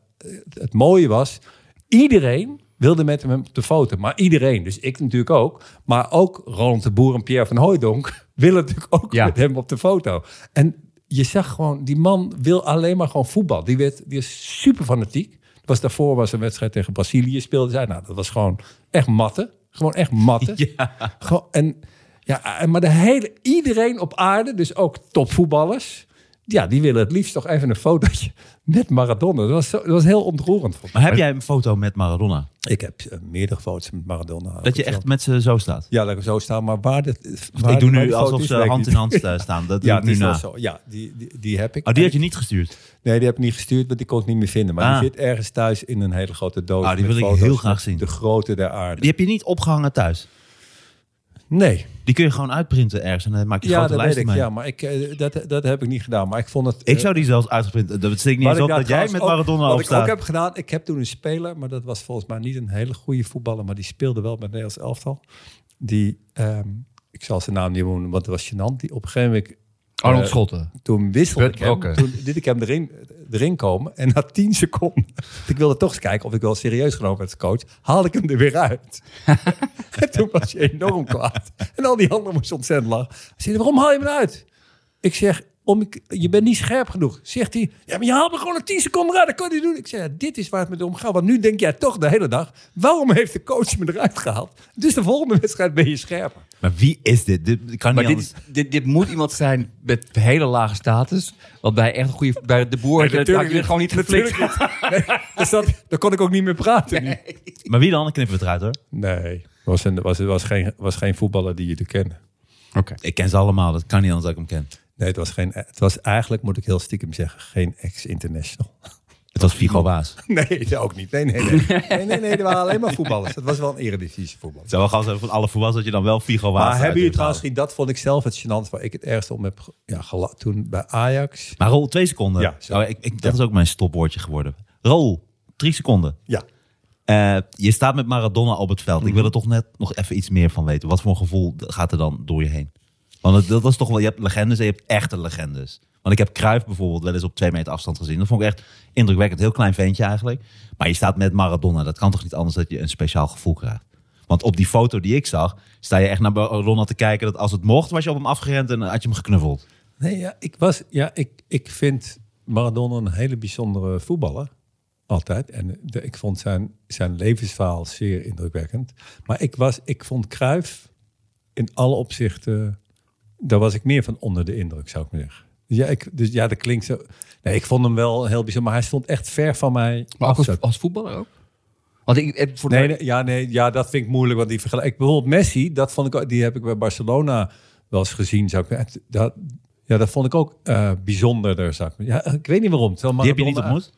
Speaker 4: het mooie was, iedereen wilde met hem op de foto. Maar iedereen, dus ik natuurlijk ook. Maar ook Roland de Boer en Pierre van Hooijdonk willen natuurlijk ook
Speaker 2: Ja.
Speaker 4: met hem op de foto. En je zag gewoon, die man wil alleen maar gewoon voetbal. Die, werd, die is super fanatiek. Was, daarvoor was een wedstrijd tegen Brazilië speelde zij. Nou, dat was gewoon echt matten. Gewoon echt matten. Gewoon, en, ja, en- maar de hele, iedereen op aarde, dus ook topvoetballers, ja, die willen het liefst toch even een fotootje met Maradona. Dat was, zo- dat was heel ontroerend. Voor
Speaker 3: Maar heb jij een foto met Maradona?
Speaker 4: Ik heb eh, meerdere foto's met Maradona.
Speaker 3: Dat je echt met ze zo staat?
Speaker 4: Ja, lekker zo staan. Maar waar dit... waar
Speaker 3: ik doe
Speaker 4: waar
Speaker 3: nu
Speaker 4: die
Speaker 3: alsof
Speaker 4: foto is,
Speaker 3: ze
Speaker 4: weet ik
Speaker 3: hand in
Speaker 4: niet.
Speaker 3: hand eh, staan. Dat
Speaker 4: Ja,
Speaker 3: doe
Speaker 4: het
Speaker 3: ik nu
Speaker 4: is wel
Speaker 3: na.
Speaker 4: zo. Ja, die, die, die heb ik.
Speaker 3: Oh, die had je niet gestuurd?
Speaker 4: Nee, die heb ik niet gestuurd, want die kon ik niet meer vinden. Maar
Speaker 3: Ah.
Speaker 4: die zit ergens thuis in een hele grote doos.
Speaker 3: Ah, die
Speaker 4: met
Speaker 3: wil ik
Speaker 4: foto's
Speaker 3: heel graag
Speaker 4: met
Speaker 3: zien.
Speaker 4: De grootte der aarde.
Speaker 3: Die heb je niet opgehangen thuis?
Speaker 4: Nee,
Speaker 3: Die kun je gewoon uitprinten ergens en dan maak je
Speaker 4: ja,
Speaker 3: grote
Speaker 4: dat weet
Speaker 3: lijsten
Speaker 4: ik.
Speaker 3: mee.
Speaker 4: Ja, maar ik, eh, dat, dat heb ik niet gedaan. Maar ik vond het.
Speaker 3: Ik
Speaker 4: eh,
Speaker 3: zou die zelfs uitgeprint. Dat steekt niet eens
Speaker 4: wat ik
Speaker 3: op
Speaker 4: daar
Speaker 3: dat jij
Speaker 4: trouwens
Speaker 3: met
Speaker 4: ook-
Speaker 3: Maradona op
Speaker 4: Wat ik ook
Speaker 3: staat.
Speaker 4: heb gedaan, ik heb toen een speler, maar dat was volgens mij niet een hele goede voetballer, maar die speelde wel met het Nederlands elftal. Die, ehm, ik zal zijn naam niet noemen, want het was gênant. Die op een gegeven moment
Speaker 2: Arnold
Speaker 4: Eh,
Speaker 2: Schotten.
Speaker 4: Toen wisselde
Speaker 2: Bert
Speaker 4: ik hem.
Speaker 2: Brokken.
Speaker 4: Toen liet ik hem erin, erin komen. En na 10 seconden, want ik wilde toch eens kijken of ik wel serieus genomen werd als coach, haalde ik hem er weer uit. en toen was je enorm kwaad. En al die anderen moesten ontzettend lachen. Hij zei, waarom haal je hem eruit? Ik zeg, om ik, je bent niet scherp genoeg. Zegt hij, ja, maar je haalt me gewoon na 10 seconden eruit. Dat kan hij doen. Ik zeg, ja, dit is waar het me om gaat. Want nu denk jij toch de hele dag, waarom heeft de coach me eruit gehaald? Dus de volgende wedstrijd ben je scherper.
Speaker 3: Maar wie is dit? Dit kan
Speaker 2: Maar
Speaker 3: niet
Speaker 2: dit,
Speaker 3: anders.
Speaker 2: is- dit, dit moet iemand zijn met hele lage status. Want bij echt een goede... Bij de boer had je- had je het gewoon niet geflikt.
Speaker 4: Dus dat, daar kon ik ook niet meer praten. nu.
Speaker 3: Maar wie dan? Knippen we het eruit hoor.
Speaker 4: Nee, was, een, was, was, geen, was geen voetballer die je te kennen.
Speaker 2: Oké.
Speaker 3: Ik ken ze allemaal. Dat kan niet anders dat ik hem ken.
Speaker 4: Nee, het was, geen, het was eigenlijk, moet ik heel stiekem zeggen, geen ex-international.
Speaker 3: Het was Figo Waas. Mm. Het
Speaker 4: Nee, dat ook niet. Nee, nee, nee. Nee, nee, nee, er waren alleen maar voetballers. Dat was wel een eredivisie voetbal.
Speaker 3: zou wel gaaf zijn van alle voetballers dat je dan wel Figo Waas
Speaker 4: Maar
Speaker 3: eruit
Speaker 4: hebben jullie
Speaker 3: durft te
Speaker 4: trouwens,
Speaker 3: halen.
Speaker 4: gezien, dat vond ik zelf het gênant waar ik het ergst om heb ge- ja, gela- toen bij Ajax.
Speaker 3: Maar Rol, twee seconden.
Speaker 4: Ja, zo.
Speaker 3: Oh, ik, ik, dat is ook mijn stopwoordje geworden. Rol, drie seconden.
Speaker 4: Ja,
Speaker 3: Eh, je staat met Maradona op het veld. Ik
Speaker 4: Mhm.
Speaker 3: wil er toch net nog even iets meer van weten. Wat voor gevoel gaat er dan door je heen? Want het- dat was toch wel... Je hebt legendes en je hebt echte legendes. Want ik heb Cruijff bijvoorbeeld wel eens op twee meter afstand gezien. Dat vond ik echt indrukwekkend. Heel klein ventje eigenlijk. Maar je staat met Maradona. Dat kan toch niet anders dat je een speciaal gevoel krijgt? Want op die foto die ik zag, sta je echt naar Maradona te kijken. Dat als het mocht, was je op hem afgerend en had je hem geknuffeld.
Speaker 4: Nee, ja, ik, was, ja ik, ik vind Maradona een hele bijzondere voetballer. Altijd. En de- ik vond zijn, zijn levensverhaal zeer indrukwekkend. Maar ik, was, ik vond Cruijff in alle opzichten... Daar was ik meer van onder de indruk, zou ik maar zeggen. Dus ja, ik, dus ja dat klinkt zo... Nee, ik vond hem wel heel bijzonder. Maar hij stond echt ver van mij
Speaker 2: Maar
Speaker 4: af,
Speaker 2: ook als,
Speaker 4: zou ik-
Speaker 2: als voetballer ook? Want ik, eh, voor de-
Speaker 4: Nee, nee, ja, nee, ja, dat vind ik moeilijk. Want die vergelijk, ik- bijvoorbeeld Messi, dat vond ik, ook- die heb ik bij Barcelona wel eens gezien. Zou ik, het- dat, ja, dat vond ik ook eh, bijzonderder. Zou ik, ja, ik weet niet waarom. terwijl
Speaker 3: Die heb je niet
Speaker 4: Maradona-
Speaker 3: ontmoet?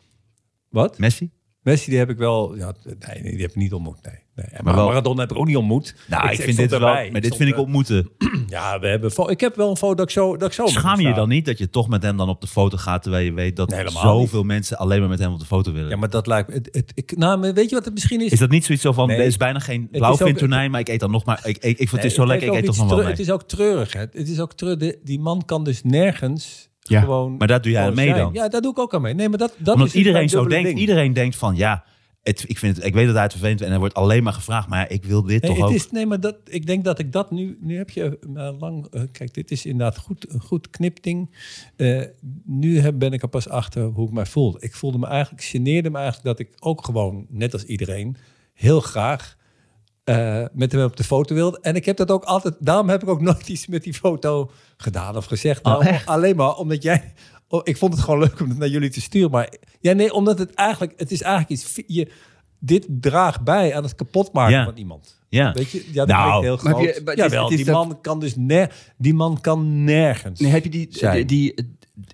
Speaker 4: Wat?
Speaker 3: Messi?
Speaker 4: Messi, die heb ik wel. Ja, nee, nee, die heb ik niet ontmoet. Nee. Nee, maar
Speaker 3: wel-
Speaker 4: Maradona heb ik ook niet ontmoet.
Speaker 3: Nou, ik, vind
Speaker 4: stond
Speaker 3: dit wel...
Speaker 4: erbij.
Speaker 3: Maar dit
Speaker 4: stond
Speaker 3: vind ik
Speaker 4: er-
Speaker 3: ontmoeten.
Speaker 4: Ja, we hebben, fo- ik heb wel een foto dat ik zo. Dat ik zo met hem
Speaker 3: Schaam je je
Speaker 4: sta.
Speaker 3: dan niet dat je toch met hem dan op de foto gaat, terwijl je weet dat
Speaker 4: Nee, helemaal
Speaker 3: zoveel mensen alleen maar met hem op de foto willen?
Speaker 4: Ja, maar dat lijkt me. Het, het- ik, nou, maar weet je wat het misschien is?
Speaker 3: is dat niet zoiets zo van,
Speaker 4: Nee.
Speaker 3: er is bijna geen blauwvin tonijn, maar ik eet dan nog maar, ik, ik, ik vind het
Speaker 4: Nee,
Speaker 3: is zo lekker, ik
Speaker 4: heeft
Speaker 3: eet
Speaker 4: ook
Speaker 3: toch nog
Speaker 4: iets
Speaker 3: wel
Speaker 4: treu-
Speaker 3: mee.
Speaker 4: Het is ook treurig. Hè. Het is ook treurig. De- Die man kan dus nergens
Speaker 2: Ja,
Speaker 4: gewoon.
Speaker 3: maar daar doe jij
Speaker 4: gewoon
Speaker 3: aan mee
Speaker 4: zijn.
Speaker 3: dan?
Speaker 4: Ja, daar doe ik ook aan mee. Nee, maar dat, dat
Speaker 3: Omdat
Speaker 4: is het
Speaker 3: iedereen
Speaker 4: mijn
Speaker 3: zo
Speaker 4: dubbele
Speaker 3: denkt,
Speaker 4: ding.
Speaker 3: iedereen denkt van, ja, het, ik, vind het, ik weet dat hij het vervelend vindt en hij wordt alleen maar gevraagd, maar ja, ik wil dit
Speaker 4: Nee,
Speaker 3: toch ook.
Speaker 4: het is, nee, maar dat, ik denk dat ik dat nu... Nu heb je eh, lang... eh, kijk, dit is inderdaad goed, een goed knipting. Eh, nu heb, ben ik er pas achter hoe ik mij voelde. Ik voelde me eigenlijk... geneerde me eigenlijk dat ik ook gewoon, net als iedereen... heel graag eh, met hem op de foto wilde. En ik heb dat ook altijd... Daarom heb ik ook nooit iets met die foto gedaan of gezegd.
Speaker 3: Oh,
Speaker 4: Nou, alleen maar omdat jij... oh, ik vond het gewoon leuk om het naar jullie te sturen. Maar ja, nee, omdat het eigenlijk... Het is eigenlijk iets... Je, dit draagt bij aan het kapotmaken
Speaker 3: Ja.
Speaker 4: van iemand.
Speaker 3: Ja.
Speaker 4: Weet je, ja, dat
Speaker 3: Nou,
Speaker 4: klinkt heel
Speaker 2: maar
Speaker 4: groot.
Speaker 2: heb je- maar het is-
Speaker 4: Jawel,
Speaker 2: het is
Speaker 4: die
Speaker 2: dat-
Speaker 4: man, kan dus ner- die man kan nergens.
Speaker 2: Nee, heb je die, die,
Speaker 4: Zijn.
Speaker 2: die,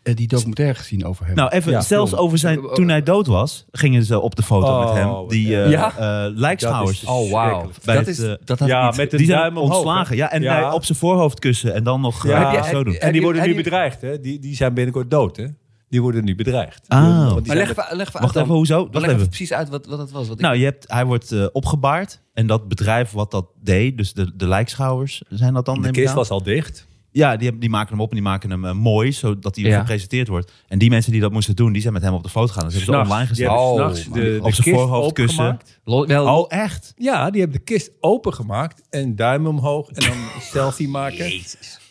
Speaker 2: eh, die documentaire gezien over hem?
Speaker 3: Nou, even,
Speaker 4: Ja,
Speaker 3: zelfs
Speaker 2: klopt.
Speaker 3: over zijn, toen hij dood was, gingen ze op de foto
Speaker 4: Oh,
Speaker 3: met hem,
Speaker 4: wat
Speaker 3: die
Speaker 4: erg.
Speaker 3: eh
Speaker 2: Ja.
Speaker 3: eh, lijkschouwers.
Speaker 4: Dat is-
Speaker 2: oh, wauw.
Speaker 4: verschrikkelijk.
Speaker 3: Bij
Speaker 2: Dat
Speaker 3: het,
Speaker 2: is...
Speaker 3: eh,
Speaker 2: Dat had
Speaker 4: ja,
Speaker 2: iets-
Speaker 4: met de
Speaker 3: die zijn
Speaker 4: duim omhoog, hè.
Speaker 3: ontslagen, ja, en
Speaker 4: Ja.
Speaker 3: hij op zijn voorhoofd kussen en dan nog
Speaker 4: Ja.
Speaker 3: eh,
Speaker 4: Heb je-
Speaker 3: zo doen.
Speaker 2: heb-
Speaker 4: en die worden
Speaker 2: en
Speaker 4: nu
Speaker 2: die-
Speaker 4: bedreigd, hè? Die, die zijn binnenkort dood, hè? Die worden nu bedreigd.
Speaker 3: Ah.
Speaker 4: Die worden- want die
Speaker 2: Maar
Speaker 4: zijn
Speaker 2: leg,
Speaker 4: met-
Speaker 2: even- leg even
Speaker 3: Wacht
Speaker 2: uit
Speaker 3: even,
Speaker 2: dan.
Speaker 3: hoezo?
Speaker 2: Leg
Speaker 3: Wacht
Speaker 2: even
Speaker 3: even.
Speaker 2: precies uit wat, wat het was. Wat ik-
Speaker 3: Nou, je hebt, hij wordt eh, opgebaard. En dat bedrijf wat dat deed, dus de, de lijkschouwers zijn dat dan?
Speaker 4: de
Speaker 3: neem ik
Speaker 4: kist
Speaker 3: aan?
Speaker 4: was al dicht.
Speaker 3: Ja, die, hebben- die maken hem op en die maken hem eh, mooi, zodat hij
Speaker 2: Ja.
Speaker 3: gepresenteerd wordt. En die mensen die dat moesten doen, die zijn met hem op de foto gegaan. Dus hebben ze
Speaker 4: S'nachts.
Speaker 3: online
Speaker 4: Die
Speaker 3: gezet.
Speaker 2: Ja.
Speaker 4: hebben
Speaker 2: Oh,
Speaker 4: s'nachts
Speaker 2: man.
Speaker 4: de,
Speaker 3: Op
Speaker 4: de
Speaker 3: zijn
Speaker 4: kist
Speaker 3: voorhoofd kussen.
Speaker 4: opengemaakt.
Speaker 2: Lo- wel,
Speaker 3: Oh, echt?
Speaker 4: Ja, die hebben de kist opengemaakt en duim omhoog en dan een selfie maken.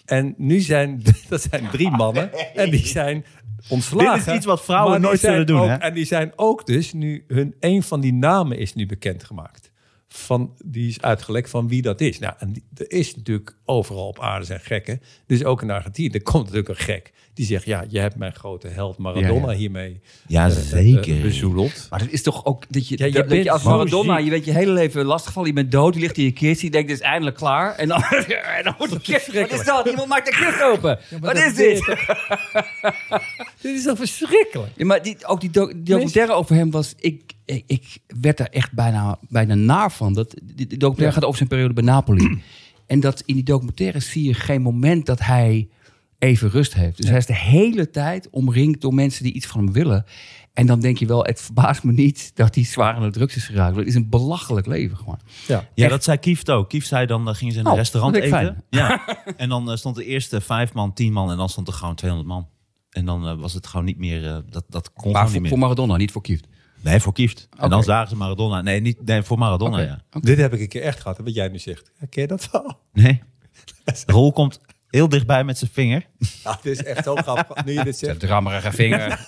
Speaker 4: En nu zijn, dat zijn drie mannen en die zijn ontslagen.
Speaker 3: Dit is iets wat vrouwen
Speaker 4: Maar die
Speaker 3: nooit
Speaker 4: zijn
Speaker 3: zullen doen,
Speaker 4: ook-
Speaker 3: hè?
Speaker 4: En die zijn ook dus nu, hun, een van die namen is nu bekendgemaakt. van, die is uitgelekt van wie dat is. Nou, en die- er is natuurlijk overal op aarde zijn gekken. Dus ook in Argentinië, er komt natuurlijk een gek. Die zegt, ja, je hebt mijn grote held Maradona
Speaker 2: Ja, ja.
Speaker 4: hiermee
Speaker 3: Ja,
Speaker 4: eh, eh,
Speaker 3: zeker.
Speaker 4: bezoedeld.
Speaker 2: Maar dat is toch ook dat je,
Speaker 4: Ja, je
Speaker 2: dat, dat
Speaker 4: bent
Speaker 2: je als
Speaker 4: zo
Speaker 2: Maradona,
Speaker 4: ziek.
Speaker 2: je weet je hele leven lastgevallen, je bent dood, je ligt in je kist, je denkt dit is eindelijk klaar. En dan, en dan wordt de kist, wat is dat? Iemand maakt de kist open. wat is dit?
Speaker 4: Dit is toch verschrikkelijk?
Speaker 2: Ja, maar die, ook die doc- die documentaire over hem was... Ik, ik, ik werd daar echt bijna, bijna naar van. Dat, die, die documentaire gaat over zijn periode bij Napoli. en dat in die documentaire zie je geen moment dat hij even rust heeft. Dus hij is de hele tijd omringd door mensen die iets van hem willen. En dan denk je wel, het verbaast me niet dat hij zwaar aan de drugs is geraakt. Want het is een belachelijk leven gewoon.
Speaker 4: Ja.
Speaker 3: Ja,
Speaker 2: Echt?
Speaker 3: dat zei Kieft ook. Kieft zei dan, eh, gingen ze in een
Speaker 2: Oh,
Speaker 3: restaurant
Speaker 2: dat vind ik
Speaker 3: eten. Ja. en dan eh, stond de eerste vijf man, tien man en dan stond er gewoon 200 man. En dan eh, was het gewoon niet meer, eh, dat, dat kon
Speaker 2: Maar
Speaker 3: gewoon niet
Speaker 2: voor,
Speaker 3: meer.
Speaker 2: voor Maradona, niet voor Kieft.
Speaker 3: nee, voor Kieft. En
Speaker 2: Oké.
Speaker 3: dan zagen ze Maradona. Nee, niet, nee voor Maradona, ja.
Speaker 4: Dit heb ik een keer echt gehad, hè, wat jij nu zegt. Ken je dat wel?
Speaker 3: Nee. Rol komt heel dichtbij met zijn vinger.
Speaker 4: Ja, Nou, dit is echt zo grappig, nu je dit
Speaker 2: De
Speaker 4: zegt.
Speaker 2: drammerige vinger.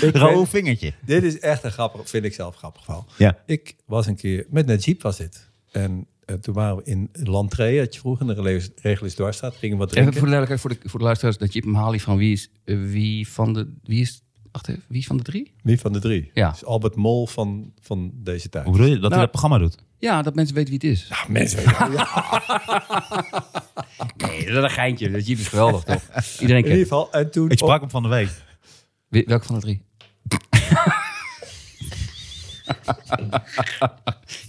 Speaker 4: Ik
Speaker 3: Rol
Speaker 4: weet-
Speaker 3: vingertje.
Speaker 4: Dit is echt een grappig, vind ik zelf grappig verhaal.
Speaker 3: Ja.
Speaker 4: Ik was een keer, met Najib was dit. En eh, toen waren we in Lantree, had je vroeger, in de regel- regel doorstaat, gingen we wat
Speaker 2: Even voor
Speaker 4: drinken.
Speaker 2: de duidelijkheid, voor de, voor de luisteraars, dat je hem haalt van wie is, eh, wie van de, wie is, wacht even, wie van de drie?
Speaker 4: Wie van de drie?
Speaker 2: Ja.
Speaker 4: Dus Albert Mol van, van deze tijd.
Speaker 3: Hoe bedoel je dat hij
Speaker 2: Nou,
Speaker 3: dat programma doet?
Speaker 2: Ja, dat mensen weten wie het is.
Speaker 4: Ah, mensen. ja.
Speaker 2: Nee, dat is een geintje. Dat Jeep is geweldig, toch? Iedereen
Speaker 4: In ieder
Speaker 2: kent
Speaker 4: geval, en toen...
Speaker 3: Ik sprak hem van de week.
Speaker 2: Wie- Welke van de drie?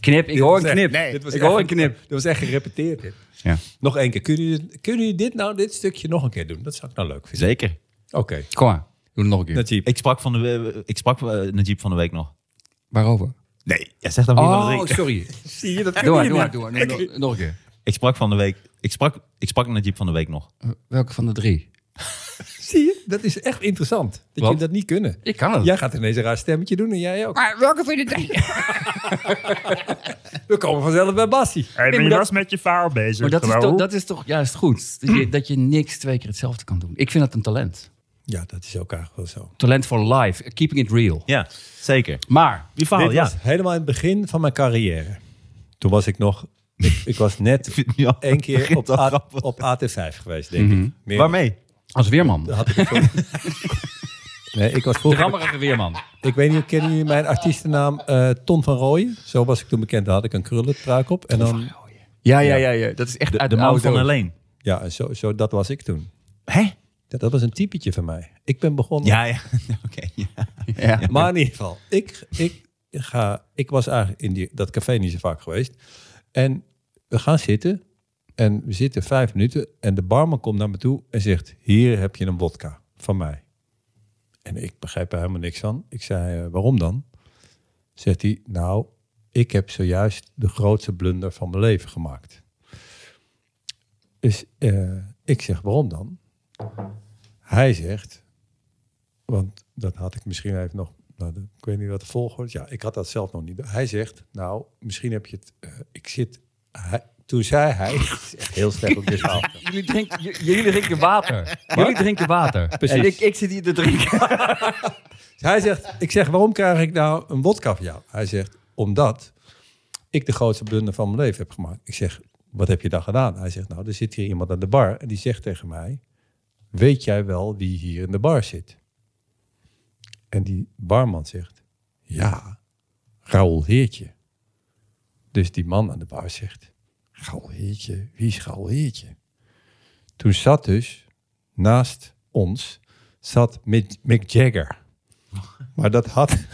Speaker 2: knip, ik hoor een knip.
Speaker 4: Oh, dit was
Speaker 2: ik
Speaker 4: echt-
Speaker 2: hoor een knip.
Speaker 4: Dat was echt gerepeteerd. dit.
Speaker 2: Ja.
Speaker 4: Nog één keer. Kunnen jullie, kunnen jullie dit nou, dit stukje nog een keer doen? Dat zou ik nou leuk vinden.
Speaker 3: Zeker.
Speaker 4: Oké.
Speaker 2: Kom maar, doe het nog een keer.
Speaker 4: Najib.
Speaker 3: Ik sprak, van de, we- ik sprak eh, Najib van de week nog.
Speaker 2: Waarover?
Speaker 3: Nee, jij zegt dan wie van de
Speaker 2: Oh,
Speaker 3: week.
Speaker 2: sorry.
Speaker 4: Zie je dat?
Speaker 2: Doe maar, doe maar, doe maar. Nog- nog- Nog een keer.
Speaker 3: Ik sprak van de week. Ik sprak, ik sprak Najib van de week nog.
Speaker 2: Welke van de drie?
Speaker 4: Zie je? Dat is echt interessant. Dat
Speaker 2: Wat?
Speaker 4: jullie dat niet kunnen.
Speaker 2: Ik kan het.
Speaker 4: Jij gaat ineens een raar stemmetje doen en jij
Speaker 3: Ah.
Speaker 4: ook.
Speaker 2: Maar welke van de drie?
Speaker 4: We komen vanzelf bij Bassie.
Speaker 5: Hey,
Speaker 2: Nee,
Speaker 5: maar je
Speaker 2: maar
Speaker 5: was met je vaar bezig.
Speaker 2: Maar Mm. dat is,
Speaker 5: Raoul.
Speaker 2: toch, dat is toch juist goed. Dat je, dat je niks twee keer hetzelfde kan doen. Ik vind dat een talent.
Speaker 4: Ja, dat is ook eigenlijk wel zo.
Speaker 2: Talent voor life. Keeping it real.
Speaker 3: Ja, zeker.
Speaker 2: Maar,
Speaker 3: Wie verhaal,
Speaker 4: Dit
Speaker 3: ja.
Speaker 4: was helemaal in het begin van mijn carrière. Toen was ik nog... Ik, ik was net
Speaker 3: vind nu al-
Speaker 4: één keer
Speaker 3: begint
Speaker 4: op,
Speaker 3: al
Speaker 4: A-
Speaker 3: grappig. Mhm.
Speaker 4: op AT5 geweest, denk ik. Meer-
Speaker 3: Waarmee?
Speaker 2: als weerman.
Speaker 4: Had ik het voor- nee, ik was
Speaker 2: De
Speaker 4: vroeger...
Speaker 2: rammerige weerman.
Speaker 4: Ik weet niet, kennen jullie mijn artiestennaam eh, Ton van Rooyen? Zo was ik toen bekend. Daar had ik een krullenpruik op. En dan,
Speaker 2: Ja, ja, ja, ja. Dat is echt uit
Speaker 3: De man
Speaker 2: oude
Speaker 3: van
Speaker 2: doos.
Speaker 3: alleen.
Speaker 4: ja, en zo, zo, dat was ik toen.
Speaker 3: Hè?
Speaker 4: Ja, dat was een typetje van mij. Ik ben begonnen.
Speaker 3: Ja, ja. Oké. ja.
Speaker 2: Ja.
Speaker 4: Maar in ieder geval, ik, ik, ga, ik was eigenlijk in die, dat café niet zo vaak geweest. En we gaan zitten. En we zitten vijf minuten. En de barman komt naar me toe en zegt: Hier heb je een wodka van mij. En ik begrijp er helemaal niks van. Ik zei: "Eh, Waarom dan? Zegt hij: Nou, ik heb zojuist de grootste blunder van mijn leven gemaakt. Dus eh, ik zeg: Waarom dan? Hij zegt: want dat had ik misschien even nog. nou, de- ik weet niet wat de volgorde is. Ja, ik had dat zelf nog niet. Hij zegt, nou, misschien heb je het. eh, ik zit. Hij, toen zei hij. Het is echt heel slecht op dit verhaal.
Speaker 2: Jullie drinken, j- jullie drinken water. Jullie drinken water.
Speaker 4: Precies.
Speaker 2: En ik, ik zit hier te drinken.
Speaker 4: Hij zegt, ik zeg, waarom krijg ik nou een wodka van jou? Hij zegt, omdat ik de grootste blunder van mijn leven heb gemaakt. Ik zeg, wat heb je dan gedaan? Hij zegt, nou, er zit hier iemand aan de bar en die zegt tegen mij, weet jij wel wie hier in de bar zit? En die barman zegt, ja, Raoul Heertje. Dus die man aan de bar zegt, Raoul Heertje, wie is Raoul Heertje? Toen zat dus naast ons, zat Mick Mick Jagger. Maar dat had.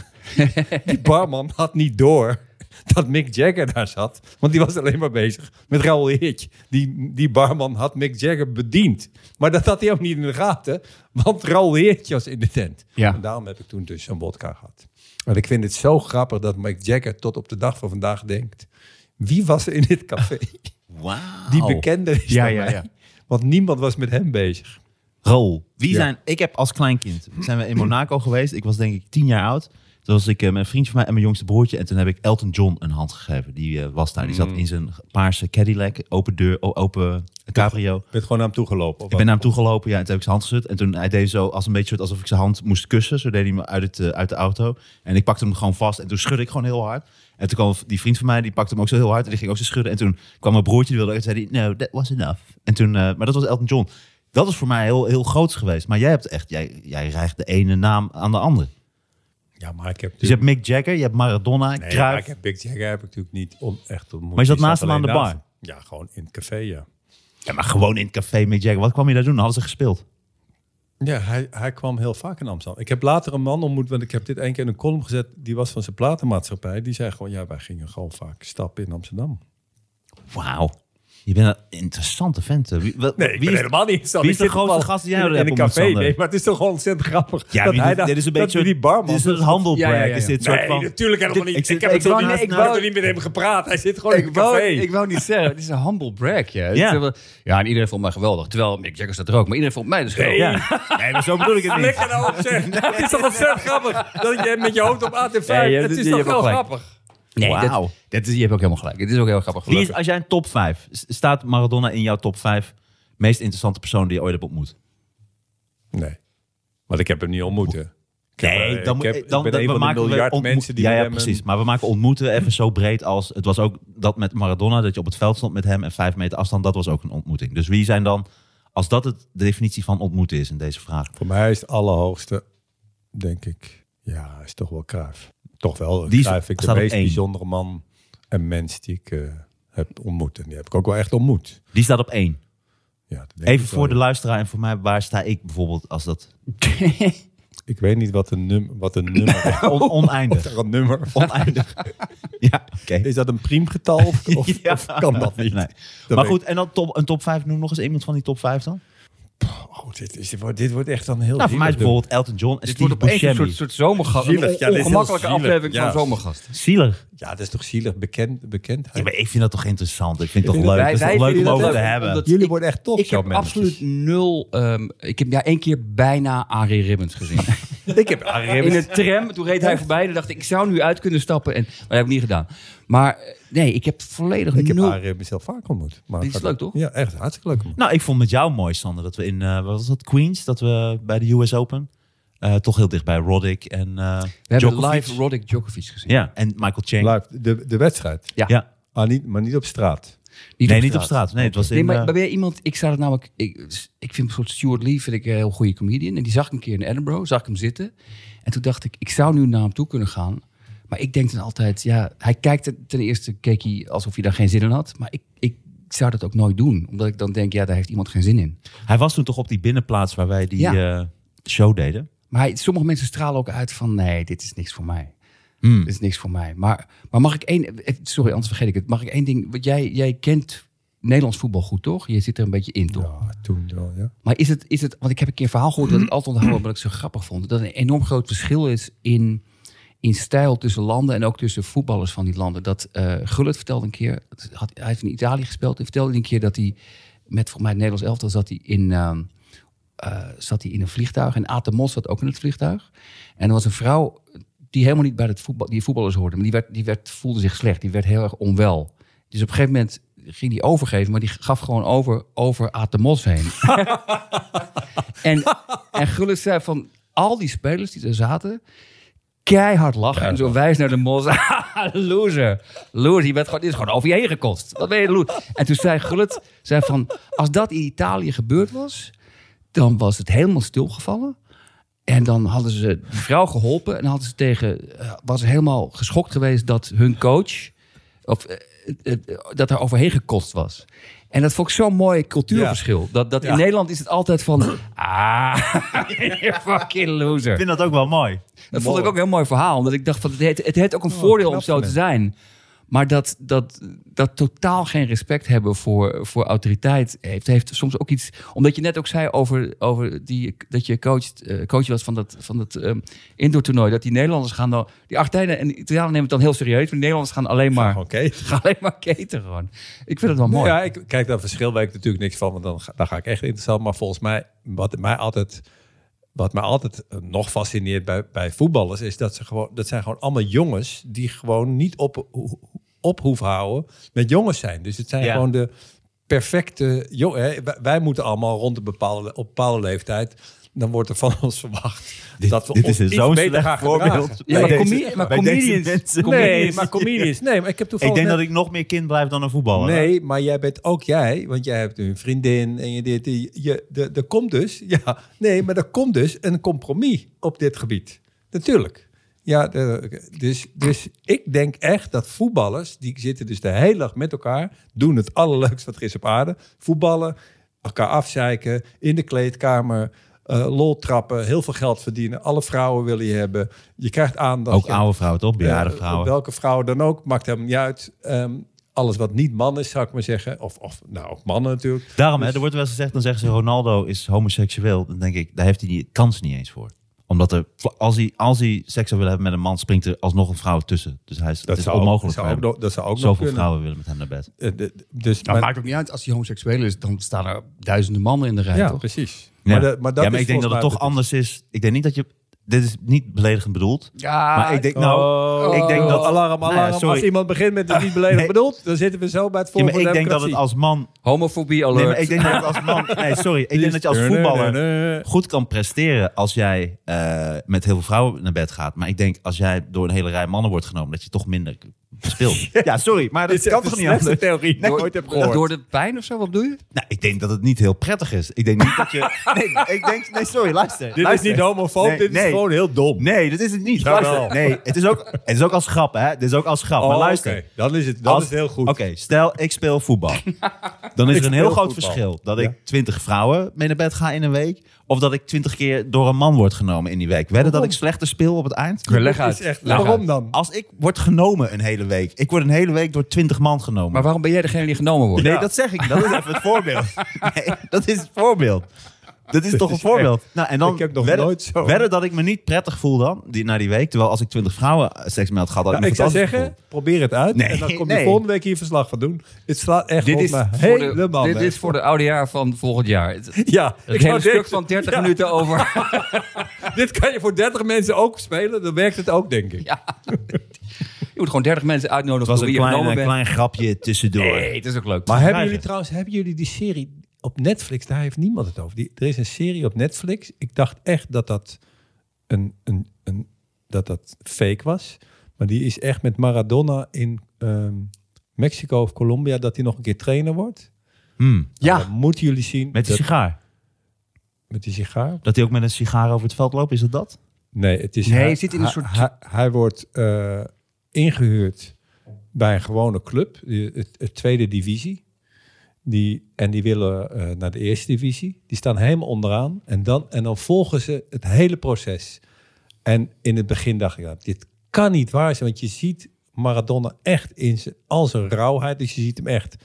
Speaker 4: die barman had niet door dat Mick Jagger daar zat. Want die was alleen maar bezig met Raoul Heertje. Die, die barman had Mick Jagger bediend. Maar dat had hij ook niet in de gaten. Want Raoul Heertje was in de tent.
Speaker 2: Ja.
Speaker 4: En daarom heb ik toen dus een wodka gehad. En ik vind het zo grappig dat Mick Jagger tot op de dag van vandaag denkt... Wie was er in dit café?
Speaker 3: Wauw.
Speaker 4: Die bekende is
Speaker 2: Ja,
Speaker 4: dan
Speaker 2: ja,
Speaker 4: mij.
Speaker 2: ja.
Speaker 4: Want niemand was met hem bezig.
Speaker 3: Rol. Wie
Speaker 4: Ja.
Speaker 3: zijn... Ik heb als kleinkind... Zijn we in Monaco geweest. Ik was denk ik tien jaar oud. Toen Toen was ik eh, met een vriendje van mij en mijn jongste broertje. En toen heb ik Elton John een hand gegeven. Die eh, was daar. Die zat in zijn paarse Cadillac. Open deur, o- open cabrio.
Speaker 4: Je bent gewoon naar hem toe gelopen.
Speaker 3: Ik ben naar hem toe gelopen, ja, en toen heb ik zijn hand geschud. En toen hij deed zo als een beetje soort alsof ik zijn hand moest kussen. Zo deed hij me uit, het, eh, uit de auto. En ik pakte hem gewoon vast en toen schudde ik gewoon heel hard. En toen kwam die vriend van mij, die pakte hem ook zo heel hard en die ging ook zo schudden. En toen kwam mijn broertje, die wilde ook, en zei hij, no, that was enough. En toen, eh, maar dat was Elton John. Dat is voor mij heel, heel groots geweest. Maar jij hebt echt, jij, jij rijgt de ene naam aan de andere.
Speaker 4: Ja, maar ik heb
Speaker 3: Dus je hebt Mick Jagger, je hebt Maradona,
Speaker 4: Nee, maar
Speaker 3: Cruijf.
Speaker 4: ik heb Big Jagger heb ik natuurlijk niet om echt ontmoet.
Speaker 3: Maar je zat
Speaker 4: Die
Speaker 3: naast hem aan de
Speaker 4: alleen
Speaker 3: bar?
Speaker 4: naast- Ja, gewoon in het café, ja.
Speaker 3: Ja, maar gewoon in het café Mick Jagger. Wat kwam je daar doen? Dan hadden ze gespeeld.
Speaker 4: Ja, hij, hij kwam heel vaak in Amsterdam. Ik heb later een man ontmoet, want ik heb dit één keer in een column gezet. Die was van zijn platenmaatschappij. Die zei gewoon, ja, wij gingen gewoon vaak stappen in Amsterdam.
Speaker 3: Wauw. Je bent een interessante vent. hè. Wie, wel- wie is-
Speaker 4: niet. Sander.
Speaker 3: wie is de
Speaker 4: Ik zit
Speaker 3: grootste
Speaker 4: toevallig
Speaker 3: gast die jij nou
Speaker 4: in-
Speaker 3: hebt
Speaker 4: In een
Speaker 3: ontmoet,
Speaker 4: café,
Speaker 3: Sander?
Speaker 4: nee, maar het is toch gewoon ontzettend grappig.
Speaker 3: Ja,
Speaker 4: dat
Speaker 3: wie
Speaker 4: hij
Speaker 3: doet-
Speaker 4: daar-
Speaker 3: dit is een
Speaker 4: dat
Speaker 3: beetje...
Speaker 4: die barman.
Speaker 3: Dit is een handelbreak.
Speaker 2: Ja, ja, ja.
Speaker 3: Is dit soort
Speaker 4: Nee,
Speaker 3: van...
Speaker 4: natuurlijk helemaal
Speaker 3: Dit-
Speaker 4: niet.
Speaker 3: ik zit-
Speaker 4: Ik, heb
Speaker 3: ik
Speaker 4: ik
Speaker 3: zit
Speaker 4: nog niet,
Speaker 3: naast-
Speaker 4: ik
Speaker 3: naast-
Speaker 4: heb er niet met hem gepraat. Hij zit gewoon in een
Speaker 2: Ik wou,
Speaker 4: café.
Speaker 2: ik wou niet zeggen, het is een humble brag. Ja,
Speaker 3: Ja.
Speaker 2: Het is wel- ja en iedereen vond mij geweldig. Terwijl Mick Jagger staat er ook, maar iedereen vond mij dus geweldig.
Speaker 4: Nee.
Speaker 3: Ja. Nee, maar zo bedoel ik het niet.
Speaker 4: Lekker nou op zeg. Het is toch ontzettend grappig dat je met je hoofd op AT5...
Speaker 2: Nee, je-
Speaker 4: het
Speaker 2: je
Speaker 4: is toch
Speaker 2: hebt wel
Speaker 4: wel
Speaker 2: gelijk.
Speaker 4: grappig.
Speaker 2: Nee,
Speaker 3: Wauw.
Speaker 2: dat, dat is, je hebt ook helemaal gelijk. Het is ook heel grappig.
Speaker 3: Wie is,
Speaker 2: gelukkig.
Speaker 3: als jij een top 5... Staat Maradona in jouw top 5 meest interessante persoon die je ooit hebt ontmoet?
Speaker 4: Nee. Want ik heb hem niet ontmoet. hè. Ik heb, eh, ik
Speaker 3: moet-
Speaker 4: heb- ik ben
Speaker 3: dat-
Speaker 4: een van de
Speaker 3: maken-
Speaker 4: miljard
Speaker 3: ontmoet-
Speaker 4: mensen die
Speaker 3: Ja,
Speaker 4: met
Speaker 3: ja
Speaker 4: hem een-
Speaker 3: precies. Maar we maken ontmoeten even zo breed als... Het was ook dat met Maradona, dat je op het veld stond met hem... en vijf meter afstand, dat was ook een ontmoeting. Dus wie zijn dan... Als dat het, de definitie van ontmoeten is in deze vraag.
Speaker 4: Voor mij is het allerhoogste, denk ik, ja, is toch wel Cruijff. Toch wel,
Speaker 3: Die
Speaker 4: die
Speaker 3: is-
Speaker 4: Cruijff vind ik
Speaker 3: staat
Speaker 4: de
Speaker 3: op
Speaker 4: meest
Speaker 3: één.
Speaker 4: bijzondere man en mens die ik eh, heb ontmoet. En die heb ik ook wel echt ontmoet.
Speaker 3: Die staat op één.
Speaker 4: Ja, dat denk
Speaker 3: Even
Speaker 4: ik
Speaker 3: voor de
Speaker 4: wel, ja.
Speaker 3: luisteraar en voor mij, waar sta ik bijvoorbeeld als dat
Speaker 4: Ik weet niet wat een, num wat een nummer
Speaker 2: Oh.
Speaker 3: on- oneindig.
Speaker 4: er een nummer van-
Speaker 3: Oneindig. Ja, oké.
Speaker 4: Is dat een priemgetal of, of,
Speaker 3: Ja.
Speaker 4: of kan dat niet?
Speaker 3: Nee.
Speaker 4: Dat
Speaker 3: Maar
Speaker 4: weet
Speaker 3: goed, en dan top, een top 5, noem nog eens iemand van die top 5 dan.
Speaker 4: Oh, dit, is, dit wordt- dit wordt echt dan heel
Speaker 3: Nou, voor mij is
Speaker 4: zielig.
Speaker 3: bijvoorbeeld Elton John en
Speaker 2: Dit
Speaker 3: Steve
Speaker 2: wordt opeens een soort,
Speaker 3: Buscemi.
Speaker 2: soort zomergast. Een
Speaker 4: Zielig, ja, dit is heel
Speaker 2: ongemakkelijke
Speaker 4: zielig,
Speaker 2: aflevering
Speaker 4: ja.
Speaker 2: van zomergast.
Speaker 3: Zielig.
Speaker 4: Ja, dat is toch zielig bekend, bekendheid?
Speaker 3: Ja, maar ik vind dat toch interessant. Ik vind het toch
Speaker 2: vind
Speaker 3: leuk.
Speaker 2: wij-
Speaker 3: Het is toch
Speaker 2: wij
Speaker 3: leuk om
Speaker 2: vinden dat
Speaker 3: over te
Speaker 2: leuk,
Speaker 3: hebben.
Speaker 2: omdat-
Speaker 4: Jullie
Speaker 2: ik-
Speaker 4: worden echt top,
Speaker 2: Ik
Speaker 4: zo,
Speaker 2: heb
Speaker 4: mannetjes.
Speaker 2: absoluut nul... ehm, ik heb ja één keer bijna Arie Ribbons gezien.
Speaker 4: Ik heb
Speaker 3: Ah,
Speaker 4: Arie
Speaker 2: in een tram. Toen reed hij voorbij. en dacht ik, ik zou nu uit kunnen stappen. En, maar dat heb ik niet gedaan. Maar eh, nee, ik heb volledig
Speaker 4: Ik heb
Speaker 2: nul...
Speaker 4: Arie mezelf vaak ontmoet. Maar
Speaker 2: Die is leuk, toch?
Speaker 4: Ja, echt hartstikke leuk. man.
Speaker 3: Nou, ik vond met jou mooi, Sander, dat we in, eh, wat was dat, Queens, dat we bij de US Open, eh, toch heel dicht bij Roddick en eh
Speaker 2: we hebben
Speaker 3: Djokovic.
Speaker 2: live Roddick Djokovic gezien.
Speaker 3: Ja, en Michael Chang.
Speaker 4: Live, de, de wedstrijd.
Speaker 2: Ja.
Speaker 3: Ja.
Speaker 4: Ah, niet, maar niet op straat.
Speaker 3: Nee, niet op straat. Nee, het was in...
Speaker 2: Nee, maar,
Speaker 3: eh,
Speaker 2: maar ben je iemand... Ik zou het namelijk... Ik, ik vind een soort Stuart Lee vind ik een heel goede comedian. En die zag ik een keer in Edinburgh. Zag ik hem zitten. En toen dacht ik, ik zou nu naar hem toe kunnen gaan. Maar ik denk dan altijd... Ja, hij kijkt... er- Ten eerste keek hij alsof hij daar geen zin in had. Maar ik, ik zou dat ook nooit doen. Omdat ik dan denk, ja, daar heeft iemand geen zin in.
Speaker 3: Hij was toen toch op die binnenplaats waar wij die
Speaker 2: Ja.
Speaker 3: eh, show deden.
Speaker 2: Maar hij- sommige mensen stralen ook uit van... Nee, dit is niks voor mij.
Speaker 3: Hmm.
Speaker 2: Dit is niks voor mij. Maar, maar mag ik één... eh, Sorry, anders vergeet ik het. Mag ik één ding... Want jij, jij kent Nederlands voetbal goed, toch? Je zit er een beetje in, toch?
Speaker 4: Ja, toen wel, ja.
Speaker 2: Maar is het, is het, want ik heb een keer een verhaal gehoord dat ik altijd onthouden, wat ik zo grappig vond. Dat er een enorm groot verschil is in, in stijl tussen landen en ook tussen voetballers van die landen. Dat eh Gullit vertelde een keer, het had, hij heeft in Italië gespeeld, en vertelde een keer dat hij met volgens mij het Nederlands elftal zat hij in, ehm, eh, zat hij in een vliegtuig. En Aad de Mos zat ook in het vliegtuig. En er was een vrouw die helemaal niet bij het voetbal, die voetballers hoorde. Maar die, werd, die werd, voelde zich slecht. Die werd heel erg onwel. Dus op een gegeven moment ging die overgeven. Maar die gaf gewoon over, over Aad de Mos heen. en, en Gullit zei van al die spelers die er zaten... Keihard lachen en zo wijs naar de mos. loser. Loser, je bent gewoon, dit is gewoon over je heen gekost. Wat ben je loser? En toen zei Gullit, zei van, als dat in Italië gebeurd was, dan was het helemaal stilgevallen. En dan hadden ze die vrouw geholpen. En dan hadden ze tegen, eh, was ze helemaal geschokt geweest dat hun coach. Of, eh, eh, eh, dat er overheen gekost was. En dat vond ik zo'n mooi cultuurverschil. Dat, dat in Nederland is het altijd van. Ah, you're fucking loser.
Speaker 3: Ik vind dat ook wel mooi.
Speaker 2: Dat vond ik ook een heel mooi Oh, verhaal. Omdat ik dacht van het heeft, het heeft ook een voordeel om
Speaker 4: knap
Speaker 2: zo
Speaker 4: van
Speaker 2: te
Speaker 4: hem.
Speaker 2: zijn. Maar dat, dat, dat totaal geen respect hebben voor, voor autoriteit heeft, heeft soms ook iets. Omdat je net ook zei over, over die, dat je coacht, eh, coach was van dat, van dat ehm indoor toernooi. Dat die Nederlanders gaan dan. Die Argentijnen en de Italianen nemen het dan heel serieus. Maar die Nederlanders gaan alleen maar,
Speaker 4: Oké.
Speaker 2: gaan alleen maar keten gewoon. Ik vind het wel mooi.
Speaker 4: Ja, ik kijk, dat verschil weet ik natuurlijk niks van, want dan ga, daar ga ik echt interessant. Maar volgens mij, wat mij altijd Wat mij altijd eh, nog fascineert bij, bij voetballers is dat ze gewoon, dat zijn gewoon allemaal jongens die gewoon niet op, op hoeven houden met jongens zijn. Dus het zijn
Speaker 3: Ja.
Speaker 4: gewoon de perfecte jongen. Wij moeten allemaal rond een bepaalde, op bepaalde leeftijd. Dan wordt er van ons verwacht
Speaker 3: Dit,
Speaker 4: dat we
Speaker 3: dit
Speaker 4: ons
Speaker 3: is een
Speaker 4: iets
Speaker 3: zo'n
Speaker 4: beter
Speaker 3: slecht
Speaker 4: gaan
Speaker 3: voorbeeld.
Speaker 4: gedragen.
Speaker 2: Ja, maar,
Speaker 3: Bij
Speaker 2: comi-
Speaker 3: deze-
Speaker 2: maar
Speaker 3: bij deze
Speaker 2: comedians...
Speaker 3: mensen.
Speaker 4: Nee, maar comedians. Nee, maar ik heb toevallig
Speaker 3: Ik denk
Speaker 4: net-
Speaker 3: dat ik nog meer kind blijf dan een voetballer.
Speaker 4: Nee, maar jij bent ook jij, want jij hebt een vriendin en je dit. Je, je, de- er komt dus, ja, nee, maar er komt dus een compromis op dit gebied. Natuurlijk. Ja, de- dus, dus ik denk echt dat voetballers, die zitten dus de hele dag met elkaar, doen het allerleukste wat er is op aarde. Voetballen, elkaar afzeiken, in de kleedkamer, eh, lol trappen, heel veel geld verdienen. Alle vrouwen wil je hebben. Je krijgt aandacht.
Speaker 3: Ook
Speaker 4: Ja,
Speaker 3: oude vrouwen, toch? Bejaarde
Speaker 4: eh,
Speaker 3: vrouwen.
Speaker 4: Welke vrouw dan ook, maakt hem niet uit. Ehm, alles wat niet man is, zou ik maar zeggen. Of, of nou, ook mannen natuurlijk.
Speaker 3: Daarom, hè,
Speaker 4: Dus-
Speaker 3: er wordt wel eens gezegd, dan zeggen ze Ronaldo is homoseksueel. Dan denk ik, daar heeft hij die kans niet eens voor. Omdat er, als hij, als hij seks zou willen hebben met een man, springt er alsnog een vrouw tussen. Dus hij is, het is
Speaker 4: zou ook-
Speaker 3: onmogelijk
Speaker 4: zou
Speaker 3: voor
Speaker 4: ook
Speaker 3: hem.
Speaker 4: nog- dat zou ook nog
Speaker 3: Zoveel
Speaker 4: kunnen.
Speaker 3: vrouwen willen met hem naar bed.
Speaker 4: Eh, de- de- dus
Speaker 2: Nou,
Speaker 4: maar-
Speaker 2: maakt ook niet uit. Als hij homoseksueel is, dan staan er duizenden mannen in de rij,
Speaker 4: ja,
Speaker 2: toch?
Speaker 4: precies.
Speaker 3: Ja,
Speaker 4: Maar, de- maar dat
Speaker 3: Ja, maar
Speaker 4: is
Speaker 3: ik denk dat het
Speaker 4: volgens
Speaker 3: toch
Speaker 4: mij
Speaker 3: anders is. Ik denk niet dat je... Dit is niet beledigend bedoeld.
Speaker 2: Ja,
Speaker 3: Maar ik denk,
Speaker 4: de-
Speaker 3: nou,
Speaker 4: Ah, Oh,
Speaker 3: ik denk dat...
Speaker 4: alarm,
Speaker 3: Nou
Speaker 4: alarm.
Speaker 3: ja, sorry.
Speaker 4: Als iemand begint met het niet beledigend
Speaker 3: Nee.
Speaker 4: bedoeld, dan zitten we zo bij het
Speaker 3: Ja, maar
Speaker 4: volgende
Speaker 3: ik denk dat het als man...
Speaker 2: homofobie alert.
Speaker 3: Nee, maar ik denk dat het als man... Nee, sorry. Ik denk dat je als voetballer... goed kan presteren als jij eh, met heel veel vrouwen naar bed gaat. Maar ik denk als jij door een hele rij mannen wordt genomen, dat je toch minder speelt. ja, sorry, maar dat kan toch niet anders?
Speaker 4: theorie die ik
Speaker 2: door,
Speaker 4: ooit heb
Speaker 2: door,
Speaker 4: gehoord.
Speaker 2: door de pijn of zo, wat bedoel je?
Speaker 3: Nou, ik denk dat het niet heel prettig is. Ik denk niet dat je... Nee, ik denk... Nee, sorry, luister.
Speaker 4: dit is
Speaker 3: luister.
Speaker 4: niet homofoob,
Speaker 3: Nee,
Speaker 4: dit is
Speaker 3: nee.
Speaker 4: gewoon heel dom.
Speaker 3: Nee, dat is het niet.
Speaker 4: Jawel.
Speaker 3: Luister. Nee, het is, ook, het is ook als grap, hè. Het is ook als grap.
Speaker 4: Oh,
Speaker 3: maar luister.
Speaker 4: oké. Dan is het, dan
Speaker 3: Als-
Speaker 4: is het heel goed.
Speaker 3: Oké, stel ik speel voetbal. Dan is
Speaker 4: Ik
Speaker 3: er een heel
Speaker 4: speel
Speaker 3: groot
Speaker 4: voetbal.
Speaker 3: verschil dat
Speaker 4: Ja.
Speaker 3: ik 20 vrouwen mee naar bed ga in een week. Of dat ik 20 keer door een man word genomen in die week. Wedden dat ik slechter speel op het eind?
Speaker 2: leg
Speaker 4: Dit
Speaker 2: uit.
Speaker 4: is echt,
Speaker 2: Leg
Speaker 4: waarom
Speaker 2: uit.
Speaker 4: dan?
Speaker 3: Als ik word genomen een hele week. Ik word een hele week door 20 man genomen.
Speaker 2: Maar waarom ben jij degene die genomen wordt?
Speaker 3: nee, dat zeg ik. niet. Dat is even het voorbeeld. Nee, dat is het voorbeeld. Dat is toch een voorbeeld. Nou, en dan
Speaker 4: Ik heb nog
Speaker 3: wedden,
Speaker 4: nooit zo-
Speaker 3: wedden dat ik me niet prettig voel dan, die, na die week. Terwijl als ik 20 vrouwen eh, seks mee had gehad, had ik
Speaker 4: Nou,
Speaker 3: me
Speaker 4: ik zou
Speaker 3: fantastisch
Speaker 4: zeggen, probeer het uit.
Speaker 3: Nee,
Speaker 4: en dan kom je
Speaker 3: nee.
Speaker 4: volgende week hier verslag van doen. Het slaat echt
Speaker 2: Dit
Speaker 4: op
Speaker 2: is,
Speaker 4: me
Speaker 2: voor de,
Speaker 4: helemaal
Speaker 2: dit
Speaker 4: weg.
Speaker 2: is voor de oude jaar van volgend jaar. Het, het
Speaker 4: Ja, ik
Speaker 2: hele
Speaker 4: zou
Speaker 2: stuk
Speaker 4: denken,
Speaker 2: van 30
Speaker 4: ja,
Speaker 2: minuten over.
Speaker 4: Dit kan je voor 30 mensen ook spelen. Dan werkt het ook, denk ik.
Speaker 2: Ja. Je moet gewoon 30 mensen uitnodigen
Speaker 3: voelen. Het was
Speaker 2: voor
Speaker 3: een
Speaker 2: wie je
Speaker 3: klein,
Speaker 2: genomen
Speaker 3: een
Speaker 2: bent.
Speaker 3: klein grapje tussendoor.
Speaker 2: Nee, het is ook leuk.
Speaker 4: Maar hebben
Speaker 3: krijgen.
Speaker 4: jullie trouwens hebben jullie die serie op Netflix? Daar heeft niemand het over. Die, er is een serie op Netflix. Ik dacht echt dat dat, een, een, een, dat, dat fake was. Maar die is echt met Maradona in ehm, Mexico of Colombia... dat hij nog een keer trainer wordt.
Speaker 3: Hmm,
Speaker 4: Nou, dan moeten jullie zien.
Speaker 3: met die
Speaker 4: dat-
Speaker 3: sigaar.
Speaker 4: met die sigaar.
Speaker 3: Dat hij ook met een sigaar over het veld loopt, is dat dat?
Speaker 4: Nee, het is.
Speaker 2: Nee, hij zit in een soort-
Speaker 4: Hij, hij wordt eh, ingehuurd bij een gewone club, de het, het tweede divisie. Die, en die willen eh, naar de eerste divisie. Die staan helemaal onderaan. En dan, en dan volgen ze het hele proces. En in het begin dacht ik, nou, dit kan niet waar zijn. Want je ziet Maradona echt in zijn, al zijn rauwheid. Dus je ziet hem echt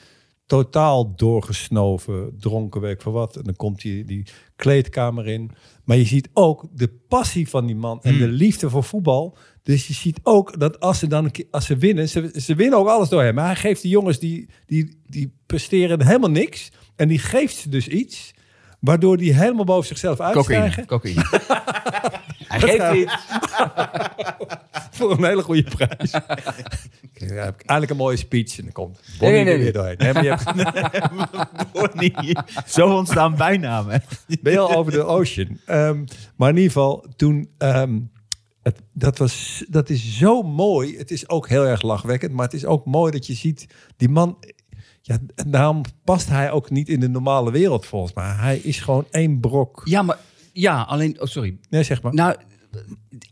Speaker 4: totaal doorgesnoven, dronken, weet ik voor wat. En dan komt hij die kleedkamer in. Maar je ziet ook de passie van die man en de liefde voor voetbal. Dus je ziet ook dat als ze dan een keer- als ze winnen, ze, ze winnen ook alles door hem. Maar hij geeft die jongens die, die, die presteren helemaal niks. En die geeft ze dus iets. Waardoor die helemaal boven zichzelf
Speaker 2: Cocaïne.
Speaker 4: uitstijgen.
Speaker 2: cocaïne. Hij geeft niet.
Speaker 4: Voor een hele goede prijs. ja, heb ik eigenlijk een mooie speech. En dan komt
Speaker 2: Nee,
Speaker 4: Bonnie
Speaker 2: nee,
Speaker 4: er
Speaker 2: nee.
Speaker 4: weer doorheen. Nee, maar je hebt-
Speaker 3: Bonnie. Zo ontstaan bijnamen.
Speaker 4: Bail over the ocean. Ehm, maar in ieder geval, toen... ehm, het, dat, was, dat is zo mooi. Het is ook heel erg lachwekkend. Maar het is ook mooi dat je ziet... Die man... Ja, en daarom past hij ook niet in de normale wereld volgens mij. Hij is gewoon één brok.
Speaker 2: Ja, maar... Ja, alleen... Oh, sorry.
Speaker 4: Nee, zeg maar.
Speaker 2: Nou,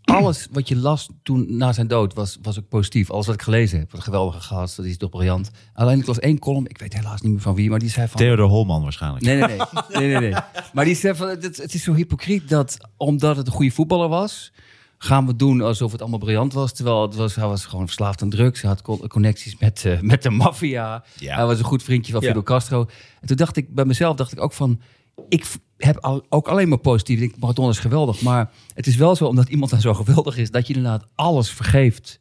Speaker 2: alles wat je las toen na zijn dood was, was ook positief. Alles wat ik gelezen heb. Wat een geweldige gast, dat is toch briljant. Alleen ik las één column, ik weet helaas niet meer van wie, maar die zei van...
Speaker 3: Theodor Holman waarschijnlijk.
Speaker 2: Nee, nee, nee. nee, nee, nee. Maar die zei van, het, het is zo hypocriet dat omdat het een goede voetballer was... gaan we doen alsof het allemaal briljant was. Terwijl het was, hij was gewoon verslaafd aan drugs. Hij had con- connecties met, eh, met de maffia.
Speaker 3: Ja.
Speaker 2: Hij was een goed vriendje van
Speaker 4: Ja.
Speaker 2: Fidel Castro. En toen dacht ik bij mezelf, dacht ik ook van... Ik v- heb al, ook alleen maar positief. Ik denk, marathon is geweldig. Maar het is wel zo, omdat iemand dan zo geweldig is... dat je inderdaad alles vergeeft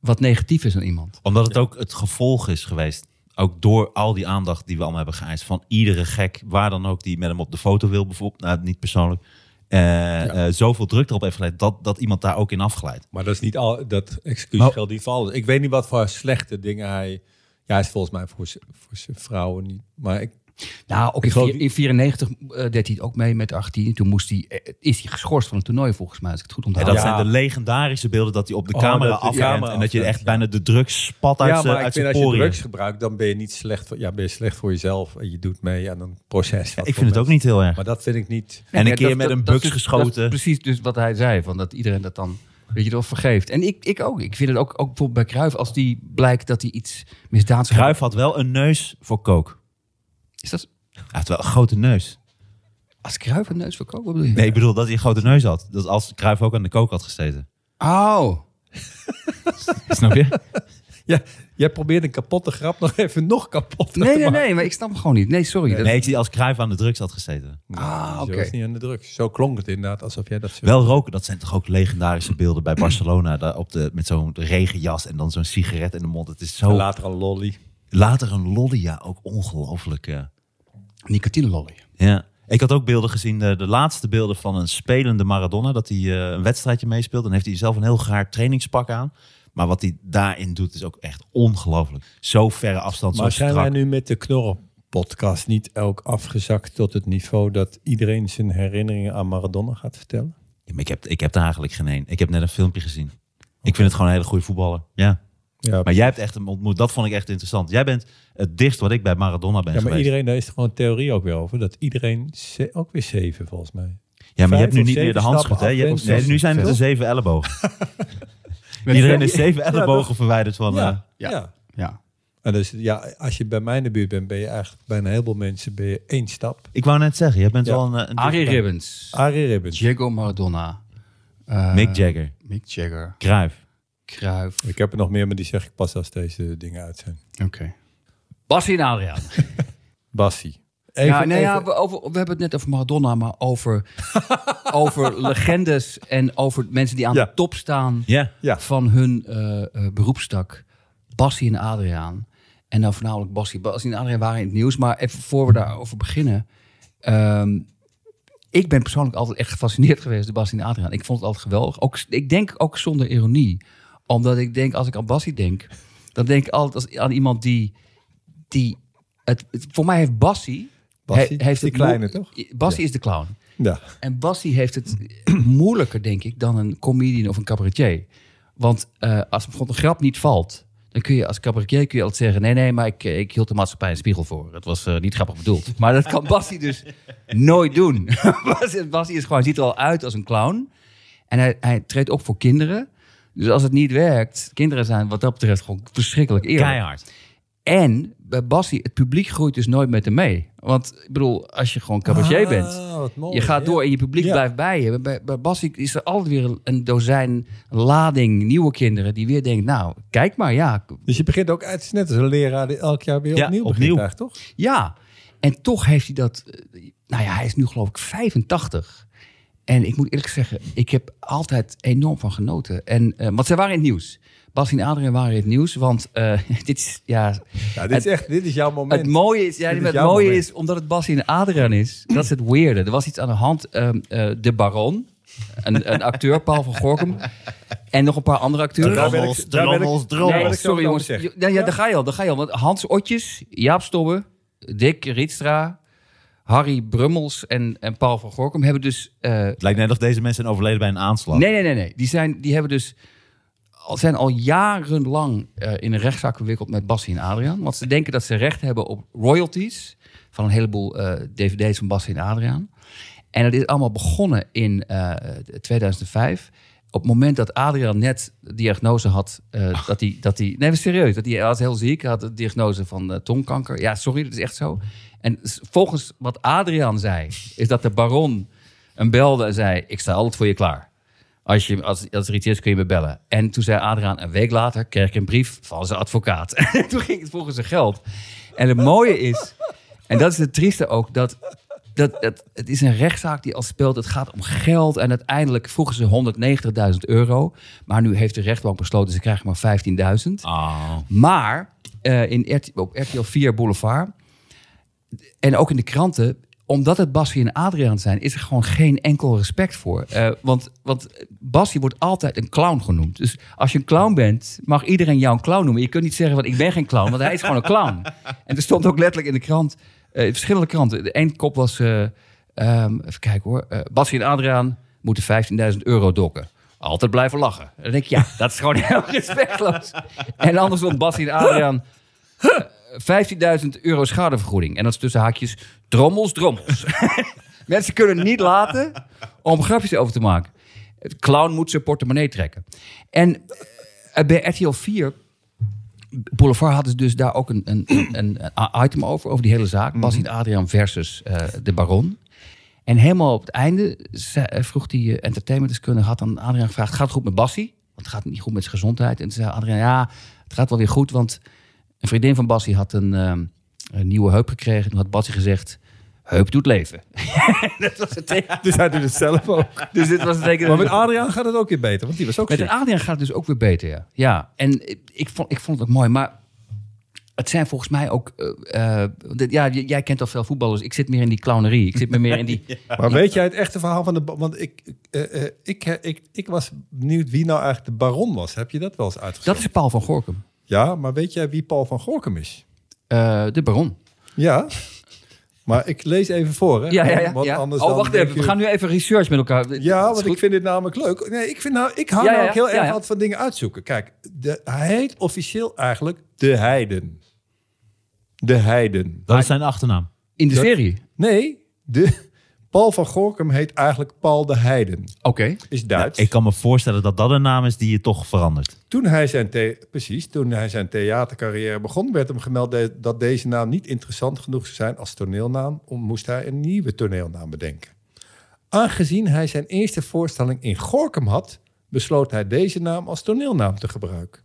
Speaker 2: wat negatief is aan iemand.
Speaker 3: Omdat het ook het gevolg is geweest. Ook door al die aandacht die we allemaal hebben geëist. Van iedere gek, waar dan ook, die met hem op de foto wil bijvoorbeeld. Nou, niet persoonlijk. eh, eh, zoveel druk erop heeft geleid dat, dat iemand daar ook in afglijdt.
Speaker 4: Maar dat is niet al, dat excuus
Speaker 3: Maar-
Speaker 4: geldt niet voor alles. Ik weet niet wat voor slechte dingen hij. Ja, hij is volgens mij voor, z- voor zijn vrouwen niet. Maar ik,
Speaker 2: Nou, ook
Speaker 4: Ik
Speaker 2: in
Speaker 4: geloof
Speaker 2: vier- in 94 eh, deed hij het ook mee met 18. Toen moest hij, eh, is hij geschorst van het toernooi volgens mij, als ik het goed
Speaker 3: En
Speaker 2: onthoud.
Speaker 3: dat
Speaker 4: Ja.
Speaker 3: zijn de legendarische beelden dat hij op de
Speaker 4: Oh,
Speaker 3: camera
Speaker 4: dat de
Speaker 3: afrent.
Speaker 4: camera
Speaker 3: en dat je
Speaker 4: afrent,
Speaker 3: echt bijna de druk spat uit
Speaker 4: ja,
Speaker 3: zijn
Speaker 4: maar ik
Speaker 3: eh, uit
Speaker 4: vind
Speaker 3: zijn
Speaker 4: als je
Speaker 3: poriën.
Speaker 4: drugs gebruikt, dan ben je niet slecht voor, ja, ben je slecht voor jezelf. En je doet mee aan een proces.
Speaker 3: Ja,
Speaker 4: wat
Speaker 3: ik
Speaker 4: voor
Speaker 3: vind het ook
Speaker 4: mensen-
Speaker 3: niet heel erg.
Speaker 4: Maar dat vind ik niet.
Speaker 3: En een
Speaker 2: Ja,
Speaker 3: keer
Speaker 2: dat-
Speaker 3: met
Speaker 2: dat-
Speaker 3: een
Speaker 2: dat
Speaker 3: bug
Speaker 2: is- dat is
Speaker 3: geschoten.
Speaker 2: precies dus wat hij zei, van dat iedereen dat dan, weet je, dat vergeeft. En ik, ik ook. Ik vind het ook, ook bijvoorbeeld bij Kruif, als die blijkt dat hij iets misdaads
Speaker 3: Kruif had wel een neus voor kook.
Speaker 2: Is dat
Speaker 3: Hij had wel een grote neus.
Speaker 2: als Kruif een neus voor kook? Wat bedoel je?
Speaker 3: Nee, ik bedoel dat hij een grote neus had. Dat als Kruif ook aan de kook had gezeten.
Speaker 2: Oh.
Speaker 3: Snap je?
Speaker 4: Ja, jij probeert een kapotte grap nog even nog kapot
Speaker 2: Nee,
Speaker 4: te
Speaker 2: nee,
Speaker 4: maken.
Speaker 2: nee, maar ik snap hem gewoon niet. Nee, sorry. dat-
Speaker 3: Nee, ik zie als Kruif aan de drugs had gezeten.
Speaker 2: Ah,
Speaker 4: Zo
Speaker 2: oké.
Speaker 4: is niet aan de drugs. Zo klonk het inderdaad, alsof jij dat zo...
Speaker 3: Wel roken, dat zijn toch ook legendarische beelden bij Barcelona. Daar op de, met zo'n regenjas en dan zo'n sigaret in de mond. Het is zo...
Speaker 4: En Later al lolly.
Speaker 3: Later een lolly, ja, ook ongelooflijk. eh.
Speaker 2: Nicotine lolly.
Speaker 3: Ja. Ik had ook beelden gezien, eh, de, de laatste beelden van een spelende Maradona. Dat hij eh, een wedstrijdje meespeelt. Dan heeft hij zelf een heel gaar trainingspak aan. Maar wat hij daarin doet is ook echt ongelooflijk. Zo verre afstand, zo
Speaker 4: Maar zijn
Speaker 3: strak.
Speaker 4: wij nu met de Knorren-podcast niet elk afgezakt tot het niveau dat iedereen zijn herinneringen aan Maradona gaat vertellen?
Speaker 3: Ja, maar ik, heb, ik heb er eigenlijk geen één. Ik heb net een filmpje gezien. Ik vind het gewoon een hele goede voetballer. Ja.
Speaker 4: Ja,
Speaker 3: Maar jij hebt echt hem ontmoet. Dat vond ik echt interessant. Jij bent het dichtst wat ik bij Maradona ben
Speaker 4: ja maar
Speaker 3: geweest.
Speaker 4: iedereen, daar is er gewoon een theorie ook weer over, dat iedereen, ze- ook weer zeven volgens mij.
Speaker 3: ja, maar je hebt nu
Speaker 4: vijf
Speaker 3: niet
Speaker 4: of
Speaker 3: meer de
Speaker 4: zeven
Speaker 3: handschot. Hè?
Speaker 4: stappen
Speaker 3: Je hebt-
Speaker 4: af
Speaker 3: nee,
Speaker 4: bent,
Speaker 3: nu zijn het de
Speaker 4: toch?
Speaker 3: zeven ellebogen. iedereen is zeven ellebogen verwijderd van... eh,
Speaker 2: Ja.
Speaker 4: ja.
Speaker 2: Ja.
Speaker 4: En dus ja, als je bij mij in de buurt bent, ben je eigenlijk bij een heleboel mensen ben je één stap.
Speaker 3: ik wou net zeggen, jij bent
Speaker 4: Ja.
Speaker 3: wel een... eh, een
Speaker 2: Arie
Speaker 3: dichtbij.
Speaker 2: Ribbons.
Speaker 4: Arie Ribbons.
Speaker 2: Diego Maradona. eh,
Speaker 3: Mick Jagger.
Speaker 2: Mick Jagger.
Speaker 3: Kruif.
Speaker 2: Kruif.
Speaker 4: Ik heb er nog meer, maar die zeg ik pas als deze dingen uit zijn.
Speaker 2: Oké. Bassie en Adriaan.
Speaker 4: Bassie. Even,
Speaker 2: ja, nou ja,
Speaker 4: even-
Speaker 2: we, over, we hebben het net over Maradona, maar over, over legendes en over mensen die aan
Speaker 4: Ja.
Speaker 2: de top staan
Speaker 3: Ja.
Speaker 4: ja.
Speaker 2: van hun eh, eh, beroepstak. Bassie en Adriaan. En dan voornamelijk Bassie. Bassie en Adriaan waren in het nieuws. Maar even voor we daarover beginnen. ehm, ik ben persoonlijk altijd echt gefascineerd geweest door Bassie en Adriaan. Ik vond het altijd geweldig. Ook, ik denk ook zonder ironie. Omdat ik denk, als ik aan Bassie denk... dan denk ik altijd als, aan iemand die... die het, het- voor mij heeft Bassie...
Speaker 4: Bassie
Speaker 2: he-
Speaker 4: is die
Speaker 2: mo-
Speaker 4: kleine, toch?
Speaker 2: Bassie is de clown.
Speaker 4: ja.
Speaker 2: En Bassie heeft het moeilijker, denk ik, dan een comedian of een cabaretier. Want eh, als bijvoorbeeld een grap niet valt, dan kun je als cabaretier kun je altijd zeggen... nee, nee, maar ik, eh, ik hield de maatschappij een spiegel voor. Het was eh, niet grappig bedoeld. Maar dat kan Bassie dus nooit doen. Bassie- Bassie is gewoon, ziet er al uit als een clown. En hij, hij treedt op voor kinderen. Dus als het niet werkt, kinderen zijn wat dat betreft gewoon verschrikkelijk eerlijk.
Speaker 3: Keihard.
Speaker 2: En bij Bassie, het publiek groeit dus nooit met hem mee. Want ik bedoel, als je gewoon cabaretier bent...
Speaker 4: Ah, wat mooi,
Speaker 2: Je gaat
Speaker 4: ja.
Speaker 2: door en je publiek
Speaker 4: Ja.
Speaker 2: blijft bij je. Bij, bij Bassie is er altijd weer een dozijn lading nieuwe kinderen die weer denken, nou, kijk maar, ja.
Speaker 4: Dus je begint ook, het is net als een leraar die elk jaar weer
Speaker 3: Ja,
Speaker 4: opnieuw begint
Speaker 3: opnieuw.
Speaker 4: eigenlijk, toch?
Speaker 2: Ja. En toch heeft hij dat, eh, nou ja, hij is nu geloof ik 85. En ik moet eerlijk zeggen, ik heb altijd enorm van genoten. En, eh, want zij waren in het nieuws. Bassie en Adrien waren in het nieuws, want eh, dit is, ja,
Speaker 4: Ja, dit, is echt, dit is jouw moment.
Speaker 2: Het mooie is, ja,
Speaker 4: Dit is
Speaker 2: het
Speaker 4: jouw
Speaker 2: mooie
Speaker 4: moment.
Speaker 2: is omdat het Bas in Adriaan is. Dat is het weirde. Er was iets aan de hand. ehm, eh, de Baron, een, een acteur, Paul van Gorkum. En nog een paar andere acteurs.
Speaker 4: Daar ben ik-
Speaker 3: Drommels,
Speaker 4: daar ben ik-
Speaker 3: drommels,
Speaker 4: daar ben
Speaker 3: drommels.
Speaker 4: ik
Speaker 2: Nee,
Speaker 4: zo
Speaker 2: sorry
Speaker 4: over
Speaker 2: jongens.
Speaker 4: zeggen.
Speaker 2: Jo- nou ja, daar ga je al. Daar ga je al. Want Hans Otjes, Jaap Stobbe, Dick Rietstra, Harry Brummels en, en Paul van Gorkum hebben dus... eh,
Speaker 3: Het lijkt net of deze mensen zijn overleden bij een aanslag.
Speaker 2: Nee, nee, nee. nee. Die, zijn, die hebben dus al, zijn al jarenlang eh, in een rechtszaak gewikkeld met Bassie en Adriaan. Want ze denken dat ze recht hebben op royalties van een heleboel eh, dvd's van Bassie en Adriaan. En dat is allemaal begonnen in eh, 2005. Op het moment dat Adriaan net de diagnose had, eh, dat hij, dat hij, nee, maar serieus, dat hij, hij was heel ziek, hij had de diagnose van eh, tongkanker. Ja, sorry, dat is echt zo. En s- volgens wat Adriaan zei, is dat de baron hem belde en zei, ik sta altijd voor je klaar. Als, je, als, als er iets is, kun je me bellen. En toen zei Adriaan, een week later kreeg ik een brief van zijn advocaat. En toen ging het volgens zijn geld. En het mooie is, en dat is het trieste ook, dat, dat, dat het is een rechtszaak die al speelt. Het gaat om geld en uiteindelijk vroegen ze 190.000 euro. Maar nu heeft de rechtbank besloten, ze krijgen maar 15.000.
Speaker 3: Ah.
Speaker 2: Maar eh, in RT op RTL 4 Boulevard en ook in de kranten omdat het Bassie en Adriaan zijn, is er gewoon geen enkel respect voor. Eh, want, want Bassie wordt altijd een clown genoemd. Dus als je een clown bent, mag iedereen jou een clown noemen. Je kunt niet zeggen, want ik ben geen clown, want hij is gewoon een clown. En er stond ook letterlijk in de krant, eh, in verschillende kranten. De één kop was, eh, ehm, even kijken hoor. eh Bassie en Adriaan moeten 15.000 euro dokken. Altijd blijven lachen. Dan denk ik, ja, dat is gewoon heel respectloos. En andersom, Bassie en Adriaan... 15.000 euro schadevergoeding. En dat is tussen haakjes drommels, drommels. Mensen kunnen het niet laten om grapjes over te maken. Het clown moet zijn portemonnee trekken. En eh, bij RTL 4, Boulevard hadden ze dus daar ook een, een, een, een item over, over die hele zaak. Bas en Adriaan versus eh, de baron. En helemaal op het einde ze- eh, vroeg die eh, entertainmentdeskundige, had aan Adriaan gevraagd, gaat het goed met Bassie? Want het gaat niet goed met zijn gezondheid. En toen zei Adriaan, ja, het gaat wel weer goed, want een vriendin van Bassie had een, ehm, een nieuwe heup gekregen. Toen had Bassie gezegd, heup doet leven. dat was het teken.
Speaker 4: Dus hij doet het zelf ook.
Speaker 2: Dus dit was het teken.
Speaker 4: Maar met Adriaan gaat het ook weer beter, want die was ook
Speaker 2: Met
Speaker 4: ziek.
Speaker 2: Adriaan gaat het dus ook weer beter, ja. Ja, en ik, ik vond, ik vond het ook mooi, maar het zijn volgens mij ook... eh, eh, dit- ja, j- jij kent al veel voetballers. Ik zit meer in die clownerie. Ik zit me meer in die...
Speaker 4: Maar weet jij het echte verhaal van de... ba- Want ik, eh, eh, ik, eh, ik, ik was benieuwd wie nou eigenlijk de baron was. Heb je dat wel eens
Speaker 2: Dat
Speaker 4: uitgezocht?
Speaker 2: is Paul van Gorkum.
Speaker 4: Ja, maar weet jij wie Paul van Gorkum is?
Speaker 2: Eh, de baron.
Speaker 4: Ja. Maar ik lees even voor, hè?
Speaker 2: Ja, ja, ja.
Speaker 4: Want
Speaker 2: ja.
Speaker 4: anders
Speaker 2: Oh,
Speaker 4: dan
Speaker 2: wacht
Speaker 4: denk
Speaker 2: even. We
Speaker 4: je-
Speaker 2: gaan nu even research met elkaar.
Speaker 4: Ja,
Speaker 2: Is
Speaker 4: want
Speaker 2: goed.
Speaker 4: ik vind dit namelijk leuk. Nee, ik, vind nou, ik hou
Speaker 2: Ja, ja,
Speaker 4: nou ook heel
Speaker 2: ja,
Speaker 4: erg
Speaker 2: ja.
Speaker 4: wat van dingen uitzoeken. Kijk, de, hij heet officieel eigenlijk De Heiden. De Heiden.
Speaker 3: Dat is zijn achternaam.
Speaker 2: In de
Speaker 4: dat-
Speaker 2: serie.
Speaker 4: Nee, de, Paul van Gorkum heet eigenlijk Paul de Heiden.
Speaker 2: Oké.
Speaker 4: Is Duits.
Speaker 3: Ik kan me voorstellen dat dat een naam is die je toch verandert.
Speaker 4: Toen hij zijn, the- precies, toen hij zijn theatercarrière begon, werd hem gemeld de- dat deze naam niet interessant genoeg zou zijn als toneelnaam, om- moest hij een nieuwe toneelnaam bedenken. Aangezien hij zijn eerste voorstelling in Gorkum had, besloot hij deze naam als toneelnaam te gebruiken.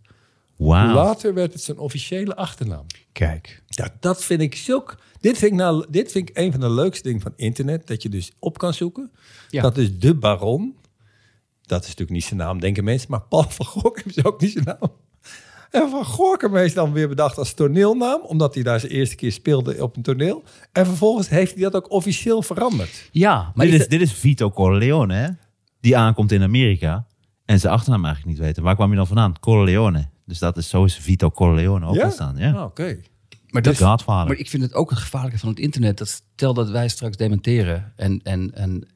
Speaker 3: Wauw.
Speaker 4: Later werd het zijn officiële achternaam.
Speaker 3: Kijk.
Speaker 4: Ja, dat vind ik zulk. Dit vind ik, nou, dit vind ik een van de leukste dingen van internet. Dat je dus op kan zoeken.
Speaker 2: Ja.
Speaker 4: Dat is de baron. Dat is natuurlijk niet zijn naam, denken mensen. Maar Paul van Gorkum is ook niet zijn naam. En van Gorkum is dan weer bedacht als toneelnaam. Omdat hij daar zijn eerste keer speelde op een toneel. En vervolgens heeft hij dat ook officieel veranderd.
Speaker 2: Ja, maar
Speaker 3: dit,
Speaker 2: is
Speaker 3: is, dit is Vito Corleone, hè? Die aankomt in Amerika en zijn achternaam eigenlijk niet weten. Waar kwam je dan vandaan? Corleone. Dus dat is, zo is Vito Corleone ook
Speaker 4: Ja?
Speaker 3: ontstaan. Ja.
Speaker 2: Oh,
Speaker 4: Ah, Oké.
Speaker 2: maar
Speaker 3: De
Speaker 2: dat,
Speaker 3: Godfather.
Speaker 2: Maar ik vind het ook het gevaarlijke van het internet. Dat stel dat wij straks dementeren en, en, en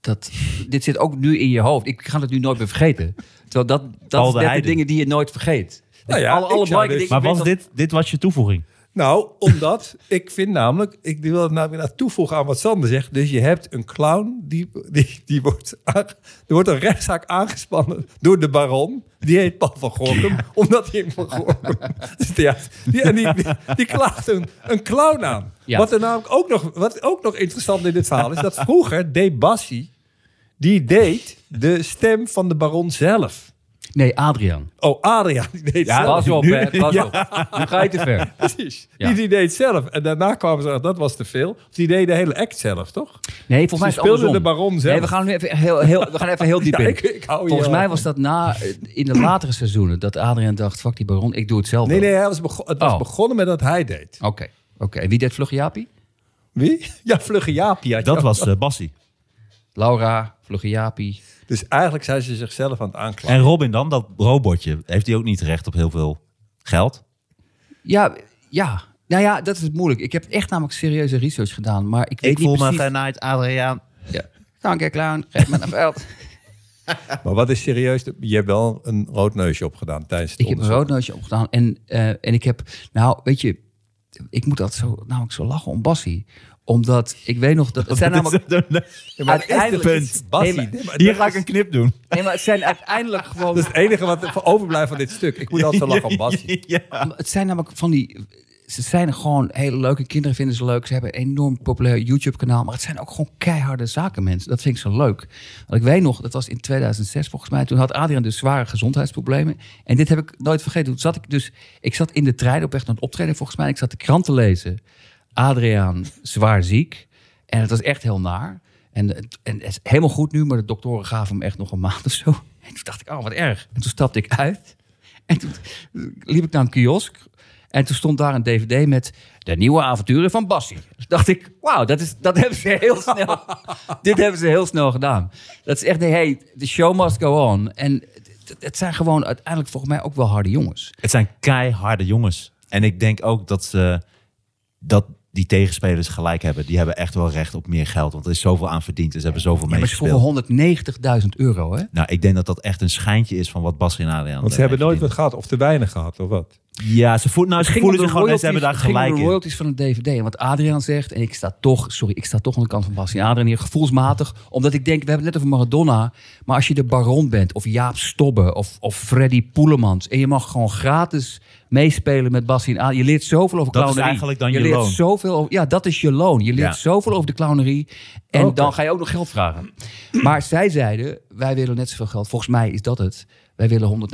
Speaker 2: dat, dit zit ook nu in je hoofd. Ik ga het nu nooit meer vergeten. Terwijl dat, dat
Speaker 3: Paul
Speaker 2: is
Speaker 3: de
Speaker 2: net de
Speaker 3: Heiden.
Speaker 2: dingen die je nooit vergeet.
Speaker 4: Nou ja,
Speaker 2: alle, alle
Speaker 4: ik zou
Speaker 2: belangrijke
Speaker 4: dus-
Speaker 2: dingen-
Speaker 3: maar was
Speaker 2: ik weet
Speaker 3: dit, dit was je toevoeging?
Speaker 4: Nou, omdat ik vind namelijk, ik wil het namelijk naar toevoegen aan wat Sander zegt. Dus je hebt een clown, die, die, die wordt, aange- er wordt een rechtszaak aangespannen door de baron. Die heet Paul van Gorkum, omdat hij hem van Gorkum Dus ja, die, en die, die, die klaagt een, een clown aan.
Speaker 2: Ja.
Speaker 4: Wat er namelijk ook nog, wat ook nog interessant in dit verhaal is, dat vroeger deed Bassie, die deed de stem van de baron zelf.
Speaker 2: dat- Nee, Adriaan.
Speaker 4: Oh, Adriaan, die deed zelf.
Speaker 2: pas op,
Speaker 4: Nu-
Speaker 2: hè, pas
Speaker 4: Ja.
Speaker 2: op. Nu ga je te ver.
Speaker 4: Precies.
Speaker 2: Ja.
Speaker 4: Die, die deed het zelf. En daarna kwamen ze erachter, dat was te veel. Of die deed de hele act zelf, toch?
Speaker 2: Nee, volgens mij is
Speaker 4: Ze
Speaker 2: het
Speaker 4: speelden
Speaker 2: andersom.
Speaker 4: de baron zelf.
Speaker 2: Nee, we gaan nu even heel, heel, we gaan even heel diep
Speaker 4: Ja,
Speaker 2: in.
Speaker 4: ik- ik hou je
Speaker 2: volgens
Speaker 4: wel.
Speaker 2: mij was dat na, eh, in de latere seizoenen, dat Adriaan dacht, fuck die baron, ik doe het zelf
Speaker 4: Nee,
Speaker 2: wel.
Speaker 4: nee, hij was bego- het was
Speaker 2: Oh.
Speaker 4: begonnen met dat hij deed.
Speaker 2: Oké, oké. En wie deed Vlugge Jaapie?
Speaker 4: Wie? Ja, Vlugge Jaapie. had je
Speaker 3: Dat
Speaker 4: ook.
Speaker 3: was eh, Bassie.
Speaker 2: Laura, Vlugge Jaapie.
Speaker 4: Dus eigenlijk zijn ze zichzelf aan het aanklagen.
Speaker 3: En Robin dan, dat robotje, heeft hij ook niet recht op heel veel geld?
Speaker 2: Ja, ja. Nou ja, dat is het moeilijk. Ik heb echt namelijk serieuze research gedaan, maar ik weet
Speaker 3: Ik
Speaker 2: niet
Speaker 3: voel me
Speaker 2: precies...
Speaker 3: vanuit Adriaan.
Speaker 2: Ja. Dank je, clown. Geef me een veld.
Speaker 4: Maar wat is serieus? Je hebt wel een rood neusje opgedaan tijdens het
Speaker 2: Ik heb een
Speaker 4: onderzoek.
Speaker 2: roodneusje opgedaan en, eh, en ik heb... Nou, weet je, ik moet altijd zo, namelijk zo lachen om Bassie. Omdat ik weet nog dat... Het zijn namelijk...
Speaker 4: Ja, maar
Speaker 2: uiteindelijk
Speaker 4: uiteindelijk
Speaker 2: is-
Speaker 4: is Bassie.
Speaker 2: Nee, maar-
Speaker 4: maar
Speaker 3: Hier
Speaker 4: dat
Speaker 3: ga ik
Speaker 4: is-
Speaker 3: een knip doen.
Speaker 2: Nee, maar het zijn uiteindelijk gewoon...
Speaker 4: Dat is het enige wat overblijft van dit stuk. Ik moet altijd zo lachen om Bassie.
Speaker 3: Ja.
Speaker 2: Het zijn namelijk van die. Ze zijn gewoon hele leuke kinderen, vinden ze leuk. Ze hebben een enorm populair YouTube-kanaal. Maar het zijn ook gewoon keiharde zakenmensen. Dat vind ik zo leuk. Want ik weet nog, dat was in 2006 volgens mij. Toen had Adriaan dus zware gezondheidsproblemen. En dit heb ik nooit vergeten. Toen zat ik dus. Ik zat in de trein op weg naar het optreden volgens mij. Ik zat de krant te lezen. Adriaan zwaar ziek. En het was echt heel naar. En, het- en het is helemaal goed nu, maar de doktoren gaven hem echt nog een maand of zo. En toen dacht ik, oh wat erg. En toen stapte ik uit. En toen liep ik naar een kiosk. En toen stond daar een dvd met de nieuwe avonturen van Bassie. Dus dacht ik, wauw, dat, is, dat hebben ze heel snel... dit hebben ze heel snel gedaan. Dat is echt, nee, hey, the show must go on. En het- het- het zijn gewoon uiteindelijk volgens mij ook wel harde jongens.
Speaker 3: Het zijn keiharde jongens. En ik denk ook dat, ze, dat die tegenspelers gelijk hebben. Die hebben echt wel recht op meer geld. Want er is zoveel aan verdiend. En ze hebben zoveel
Speaker 2: Ja, maar ze
Speaker 3: meegespeeld.
Speaker 2: vroegen 190.000 euro, hè?
Speaker 3: Nou, ik denk dat dat echt een schijntje is van wat Bas en Adriaan...
Speaker 4: Want ze hebben nooit wat gehad of te weinig gehad of wat.
Speaker 3: Ja, ze, voel, nou, ze
Speaker 2: ging
Speaker 3: voelen
Speaker 2: om
Speaker 3: zich
Speaker 2: de
Speaker 3: gewoon... en
Speaker 2: royalties-
Speaker 3: Ze hebben daar
Speaker 2: het ging om
Speaker 3: gelijk
Speaker 2: de
Speaker 3: in.
Speaker 2: royalties van een DVD. En wat Adriaan zegt, en ik sta toch, sorry, ik sta toch aan de kant van Bastiaan Adriaan hier, gevoelsmatig. Omdat ik denk, we hebben het net over Maradona. Maar als je de baron bent, of Jaap Stobbe, of, of Freddy Poelemans. En je mag gewoon gratis meespelen met Bastiaan Adriaan. Je leert zoveel over
Speaker 3: Dat is
Speaker 2: clownerie.
Speaker 3: eigenlijk dan je
Speaker 2: leert
Speaker 3: loon.
Speaker 2: Zoveel over, ja, dat is je loon. Je leert
Speaker 3: Ja. Oh,
Speaker 2: zoveel over de clownerie. En
Speaker 4: Oké.
Speaker 2: dan ga je ook nog geld vragen. Maar zij zeiden, wij willen net zoveel geld. Volgens mij is dat het. Wij willen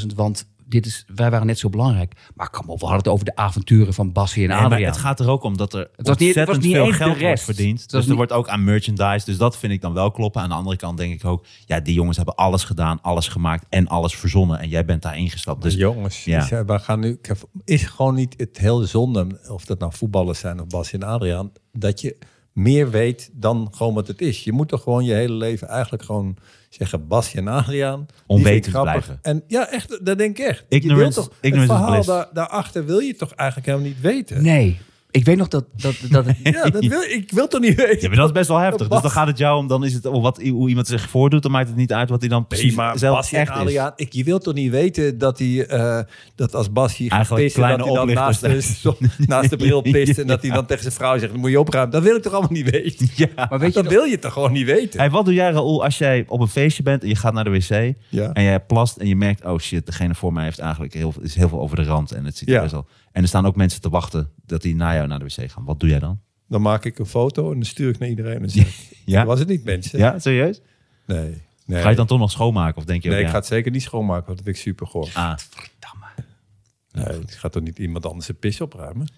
Speaker 2: 190.000, want dit is, wij waren net zo belangrijk. Maar kom op, we hadden het over de avonturen van Bassie en
Speaker 3: Nee, maar
Speaker 2: Adriaan.
Speaker 3: het gaat er ook om dat er
Speaker 2: was niet- het
Speaker 3: ontzettend
Speaker 2: was niet
Speaker 3: veel
Speaker 2: eens de
Speaker 3: geld wordt
Speaker 2: rest.
Speaker 3: verdiend.
Speaker 2: Het was
Speaker 3: dus er
Speaker 2: niet-
Speaker 3: wordt ook aan merchandise. Dus dat vind ik dan wel kloppen. Aan de andere kant denk ik ook... Ja, die jongens hebben alles gedaan, alles gemaakt en alles verzonnen. En jij bent daar ingestapt. Dus
Speaker 4: Dus jongens,
Speaker 3: ja.
Speaker 4: die zei, we gaan nu, ik heb- is gewoon niet het heel zonde, of dat nou voetballers zijn of Bas en Adriaan, dat je meer weet dan gewoon wat het is. Je moet toch gewoon je hele leven eigenlijk gewoon zeggen Bas en Adriaan. die
Speaker 3: Onwetend
Speaker 4: vind ik grappig.
Speaker 3: blijven.
Speaker 4: En ja, echt, dat denk ik echt. je wilt
Speaker 3: Ignorance-
Speaker 4: toch, het
Speaker 3: ignorance is
Speaker 4: verhaal
Speaker 3: bliss.
Speaker 4: daar, daarachter wil je toch eigenlijk helemaal niet weten?
Speaker 2: Nee, ik weet nog dat... dat, dat
Speaker 4: Ja, dat wil, ik wil toch niet weten?
Speaker 3: Ja, maar dat is best wel heftig. Dus
Speaker 4: Bas-
Speaker 3: dan gaat het jou om, dan is het oh, wat, hoe iemand zich voordoet, dan maakt het niet uit wat hij dan precies
Speaker 4: maar
Speaker 3: zelf
Speaker 4: Basje en
Speaker 3: echt is.
Speaker 4: Adriaan, ik, je wilt toch niet weten dat, hij, eh, dat als Bas hier gaat
Speaker 3: Eigenlijk
Speaker 4: pissen, dat hij
Speaker 3: kleine
Speaker 4: dan naast de,
Speaker 3: oplichters
Speaker 4: so- naast de bril pist en dat hij dan tegen zijn vrouw zegt, moet je opruimen. Dat wil ik toch allemaal niet weten?
Speaker 3: Ja.
Speaker 2: maar weet je
Speaker 4: dat
Speaker 2: nog-
Speaker 4: wil je toch gewoon niet weten?
Speaker 3: Hey, wat doe jij, Raoul, als jij op een feestje bent en je gaat naar de wc
Speaker 4: Ja.
Speaker 3: en jij plast en je merkt, oh shit, degene voor mij heeft eigenlijk heel, is heel veel over de rand en het ziet
Speaker 4: Ja.
Speaker 3: er best wel. En er staan ook mensen te wachten dat die na jou naar de wc gaan. Wat doe jij dan?
Speaker 4: Dan maak ik een foto en dan stuur ik naar iedereen en zeg,
Speaker 3: Ja.
Speaker 4: dat was het niet mensen.
Speaker 3: Ja, serieus?
Speaker 4: Nee. nee.
Speaker 3: Ga je dan toch nog schoonmaken of denk je ook,
Speaker 4: Nee, ik
Speaker 3: ja,
Speaker 4: ga het zeker niet schoonmaken, want dat vind ik super goor.
Speaker 3: ah,
Speaker 4: Nee, ik ga toch niet iemand anders een pis opruimen?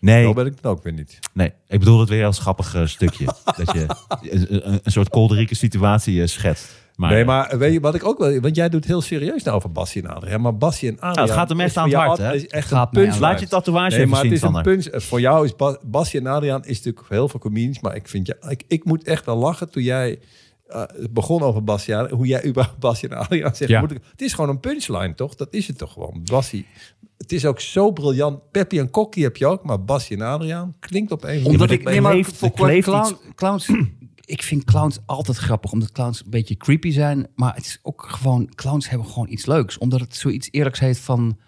Speaker 3: nee,
Speaker 4: Zo ben ik dan ook weer niet.
Speaker 3: nee, ik bedoel het weer als grappig eh, stukje. dat je een, een, een soort kolderieke situatie eh, schetst. Maar,
Speaker 4: nee, maar weet je wat ik ook wel... Want jij doet heel serieus nou over Bassie en Adriaan. Maar Bassie en Adriaan...
Speaker 3: Nou, het gaat hem
Speaker 4: is
Speaker 3: echt aan
Speaker 4: voor
Speaker 3: het
Speaker 4: jou
Speaker 3: hart, hè?
Speaker 4: altijd- is echt
Speaker 2: Gaat
Speaker 4: een
Speaker 2: mij aan
Speaker 4: punch.
Speaker 2: het
Speaker 3: Laat je tatoeage
Speaker 4: Nee,
Speaker 3: even
Speaker 4: maar het
Speaker 3: zien,
Speaker 4: is een
Speaker 3: Sander.
Speaker 4: punch. Eh, Voor jou is Bas, Basje en Adriaan is natuurlijk heel veel comedians, maar ik vind ja, ik, ik moet echt wel lachen toen jij eh, begon over Basje, en Adriaan, hoe jij überhaupt Basje en Adriaan zegt.
Speaker 2: Ja.
Speaker 4: Moet ik, het is gewoon een punchline, toch? Dat is het toch gewoon, Basje. Het is ook zo briljant. Peppy en Kokkie heb je ook, maar Basje en Adriaan klinkt op een
Speaker 2: Omdat
Speaker 3: maar
Speaker 2: ik
Speaker 3: er
Speaker 2: nee, maar
Speaker 3: kleeft-
Speaker 2: voor
Speaker 3: er kleeft
Speaker 2: clown- clowns. Ik vind clowns altijd grappig, omdat clowns een beetje creepy zijn. Maar het is ook gewoon, clowns hebben gewoon iets leuks. Omdat het zoiets eerlijks heeft van,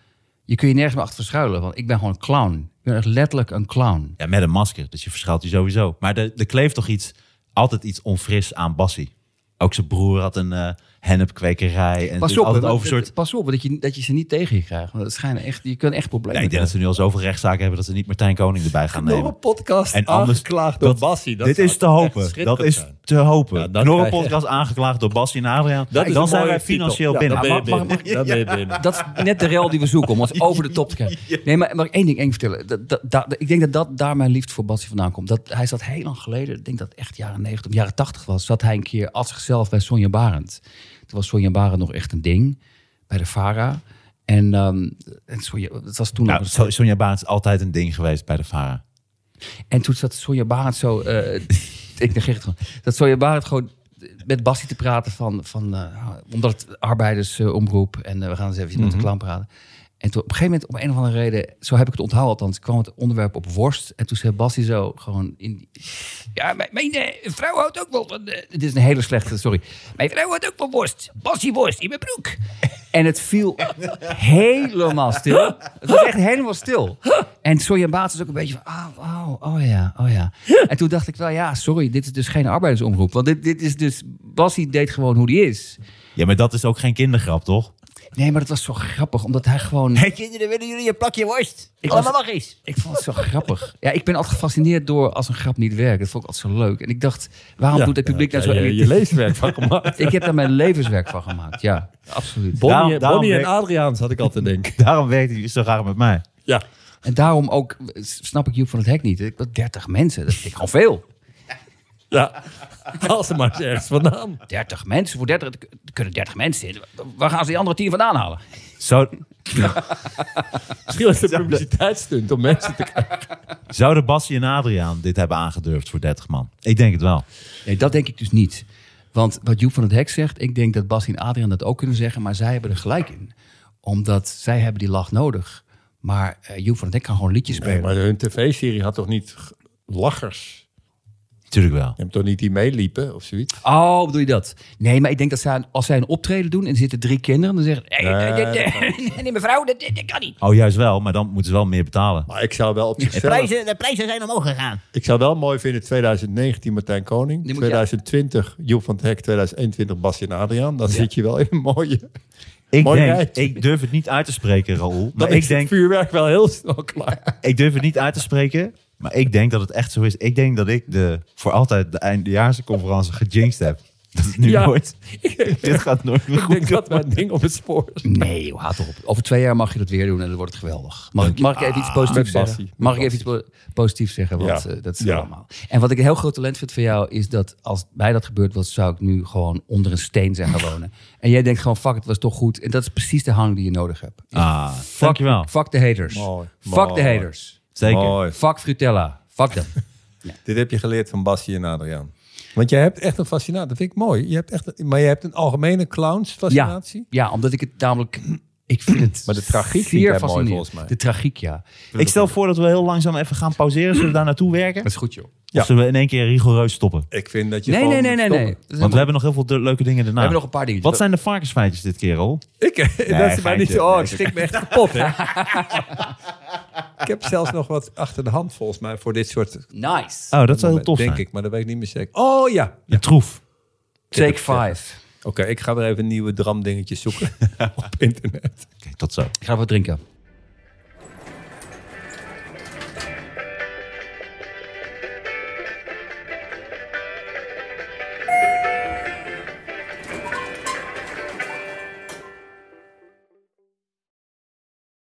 Speaker 2: je kun je nergens meer achter verschuilen. Want ik ben gewoon een clown. Ik ben echt letterlijk een clown.
Speaker 3: Ja, met een masker. Dus je verschuilt je sowieso. Maar er, er kleeft toch iets, altijd iets onfris aan Bassie. Ook zijn broer had een eh hennepkwekerij. En
Speaker 2: Pas
Speaker 3: dus
Speaker 2: op,
Speaker 3: altijd
Speaker 2: hè,
Speaker 3: over
Speaker 2: dat-
Speaker 3: soort...
Speaker 2: pas op dat, je, dat je ze niet tegen je krijgt. Want dat schijnen echt, je kunt echt problemen
Speaker 3: Nee, ik denk
Speaker 2: krijgen.
Speaker 3: dat ze nu al zoveel rechtszaken hebben dat ze niet Martijn Koning erbij gaan
Speaker 4: Nog een
Speaker 3: nemen.
Speaker 4: podcast
Speaker 3: En
Speaker 4: en
Speaker 3: anders-
Speaker 4: aangeklaagd door
Speaker 3: dat-
Speaker 4: Basje.
Speaker 3: Dit is te hopen. Dat is te hopen.
Speaker 4: Ja,
Speaker 3: Ja,
Speaker 4: dat
Speaker 3: Knorren
Speaker 4: krijg je.
Speaker 3: podcast aangeklaagd door Bassie en Adriaan.
Speaker 4: Dat is
Speaker 3: dan
Speaker 4: een
Speaker 3: zijn
Speaker 4: mooie
Speaker 3: wij financieel
Speaker 4: titel. Ja,
Speaker 3: binnen.
Speaker 4: dat
Speaker 3: Maar
Speaker 4: ben je
Speaker 3: mag- mag-
Speaker 4: binnen. Dat ben je binnen.
Speaker 2: Dat is net de rel die we zoeken, om ons over de top te krijgen. Nee, maar mag ik één ding één vertellen? Dat, dat, dat- ik denk dat, dat daar mijn liefde voor Bassie vandaan komt. Dat, hij zat heel lang geleden, ik denk dat het echt jaren 90, of jaren 80 was, zat hij een keer als zichzelf bij Sonja Barend. Toen was Sonja Barend nog echt een ding, bij de VARA. En, ehm, en Sonja, het was toen
Speaker 3: Nou,
Speaker 2: nog-
Speaker 3: Son- Sonja Baan is altijd een ding geweest bij de VARA.
Speaker 2: En toen zat Sonja Barend zo... eh, ik negeer het gewoon. Dat Sonja Barend gewoon met Bassie te praten van... van eh, omdat het arbeidersomroep... en eh, we gaan eens even met de clown praten. En toen op een gegeven moment, om een of andere reden... zo heb ik het onthouden althans, kwam het onderwerp op worst. En toen zei Bassie zo gewoon... In, die- ja, mijn, mijn, eh, vrouw houdt ook wel van... eh, dit is een hele slechte, sorry. Mijn vrouw houdt ook van worst. Bassie worst in mijn broek. En het viel helemaal stil. Het was echt helemaal stil. En Sonja Baat is ook een beetje van... ah, wauw, oh ja, oh ja. En toen dacht ik wel, ja, sorry, dit is dus geen arbeidersomroep. Want dit, dit is dus... Bassie deed gewoon hoe die is.
Speaker 3: Ja, maar dat is ook geen kindergrap, toch?
Speaker 2: Nee, maar dat was zo grappig, omdat hij gewoon...
Speaker 5: Hey kinderen, willen jullie een plakje worst?
Speaker 2: Ik
Speaker 5: Allemaal
Speaker 2: was-
Speaker 5: mag eens.
Speaker 2: Ik vond het zo grappig. Ja, ik ben altijd gefascineerd door als een grap niet werkt. Dat vond ik altijd zo leuk. En ik dacht, waarom doet het publiek nou zo...
Speaker 4: Je, je leeswerk van gemaakt.
Speaker 2: Ik heb daar mijn levenswerk van gemaakt, ja. Absoluut.
Speaker 4: Bonnie,
Speaker 3: daarom
Speaker 4: Bonnie en
Speaker 3: werkt-
Speaker 4: Adriaan zat ik al te denken.
Speaker 3: Daarom werkt hij zo graag met mij.
Speaker 4: Ja.
Speaker 2: En daarom ook eh, snap ik Joep van het Hek niet. Ik 30 mensen, dat vind ik gewoon veel.
Speaker 4: Ja. Haal ze maar eens ergens vandaan.
Speaker 2: 30 mensen, voor 30, er kunnen 30 mensen in. Waar gaan ze die andere 10 vandaan halen?
Speaker 3: Zou,
Speaker 4: Misschien was het een publiciteitsstunt om mensen te krijgen.
Speaker 3: zouden Bassie en Adriaan dit hebben aangedurfd voor 30 man? Ik denk het wel.
Speaker 2: Nee, dat denk ik dus niet. Want wat Joep van het Hek zegt, ik denk dat Bas en Adriaan dat ook kunnen zeggen, maar zij hebben er gelijk in. Omdat zij hebben die lach nodig. Maar eh, Joep van het Hek kan gewoon liedjes spelen.
Speaker 4: maar hun tv-serie had toch niet g- lachers?
Speaker 3: Tuurlijk wel.
Speaker 4: Je hebt toch niet die meeliepen of zoiets?
Speaker 2: Oh, bedoel je dat? Nee, maar ik denk dat zij, als zij een optreden doen en er zitten drie kinderen, dan zeggen ze, "Hey,
Speaker 4: Nee,
Speaker 2: eh, eh, eh, nee, mevrouw, dat, dat kan niet.
Speaker 3: Oh, juist wel, maar dan moeten ze wel meer betalen.
Speaker 4: Maar ik zou wel op
Speaker 5: De
Speaker 4: zichzelf...
Speaker 5: prijzen, de prijzen zijn omhoog gegaan.
Speaker 4: Ik zou wel mooi vinden 2019 Martijn Koning,
Speaker 2: Die moet je-
Speaker 4: 2020 Joep van het Hek, 2021 Basje en Adriaan. Dan zit je wel in een mooie...
Speaker 3: Ik,
Speaker 4: Mooi
Speaker 3: denk,
Speaker 4: rijtje.
Speaker 3: ik durf het niet uit te spreken, Raoul.
Speaker 4: Dan
Speaker 3: Maar
Speaker 4: is
Speaker 3: ik
Speaker 4: het
Speaker 3: denk,
Speaker 4: vuurwerk wel heel snel klaar.
Speaker 3: ik durf het niet uit te spreken. Maar ik denk dat het echt zo is. Ik denk dat ik de, voor altijd de eindejaarsconferentie gejinxed heb. Dat het nu
Speaker 4: Ja.
Speaker 3: nooit... Dit gaat nooit meer
Speaker 4: Ik
Speaker 3: goed.
Speaker 4: denk dat mijn ding op het spoor is.
Speaker 2: Nee, joh, haat toch op. Over twee jaar mag je dat weer doen en dan wordt het geweldig. Mag, ik- mag ik even iets positiefs
Speaker 4: Ah, met
Speaker 2: zeggen?
Speaker 4: passie.
Speaker 2: Mag ik even iets po- positiefs zeggen? Want
Speaker 4: Ja.
Speaker 2: eh, dat is
Speaker 4: Ja.
Speaker 2: allemaal. En wat ik een heel groot talent vind van jou is dat als mij dat gebeurd was, zou ik nu gewoon onder een steen zijn gaan wonen. En jij denkt gewoon, fuck, het was toch goed. En dat is precies de hang die je nodig hebt.
Speaker 3: Ah,
Speaker 2: Fuck,
Speaker 3: dankjewel.
Speaker 2: Fuck de haters.
Speaker 4: Mooi.
Speaker 2: Fuck de
Speaker 4: Mooi.
Speaker 2: haters.
Speaker 3: Zeker.
Speaker 2: Fuck Frutella. Fuck dat.
Speaker 4: Dit heb je geleerd van Basje en Adriaan. Want jij hebt echt een fascinatie. Dat vind ik mooi. Je hebt echt een- maar je hebt een algemene
Speaker 2: ja,
Speaker 4: clownsfascinatie.
Speaker 2: ja, omdat ik het namelijk... Ik vind het
Speaker 4: Maar de tragiek
Speaker 2: zeer
Speaker 4: vind jij mooi,
Speaker 2: fascinerend.
Speaker 4: volgens mij.
Speaker 2: De tragiek, ja.
Speaker 3: Ik stel voor dat we heel langzaam even gaan pauzeren. Zullen we daar naartoe werken?
Speaker 2: Dat is goed, joh.
Speaker 4: Ja.
Speaker 3: Of zullen we in één keer rigoureus stoppen?
Speaker 4: Ik vind dat je
Speaker 2: Nee, nee,
Speaker 4: gewoon
Speaker 2: nee, nee.
Speaker 4: moet
Speaker 2: nee.
Speaker 4: stoppen.
Speaker 2: Dat is Ah.
Speaker 3: Want
Speaker 2: helemaal-
Speaker 3: we hebben nog heel veel de- leuke dingen erna.
Speaker 2: we hebben nog een paar dingen.
Speaker 3: Wat Oh, zijn de varkensfeitjes dit keer, Raoul?
Speaker 4: Ik, dat is mij
Speaker 3: geintje.
Speaker 4: niet zo... Oh,
Speaker 3: Nee,
Speaker 4: ik schrik me echt kapot, hè. ik heb zelfs nog wat achter de hand, volgens mij, voor dit soort...
Speaker 2: Nice.
Speaker 3: Oh, dat zou heel
Speaker 4: momenten,
Speaker 3: tof
Speaker 4: Denk
Speaker 3: zijn.
Speaker 4: ik, maar dat weet ik niet meer zeker. Oh, ja.
Speaker 3: Een troef.
Speaker 2: Take five.
Speaker 4: Oké, ik ga weer even nieuwe dramdingetjes zoeken op internet.
Speaker 3: Oké, tot zo.
Speaker 2: Ik ga wat drinken.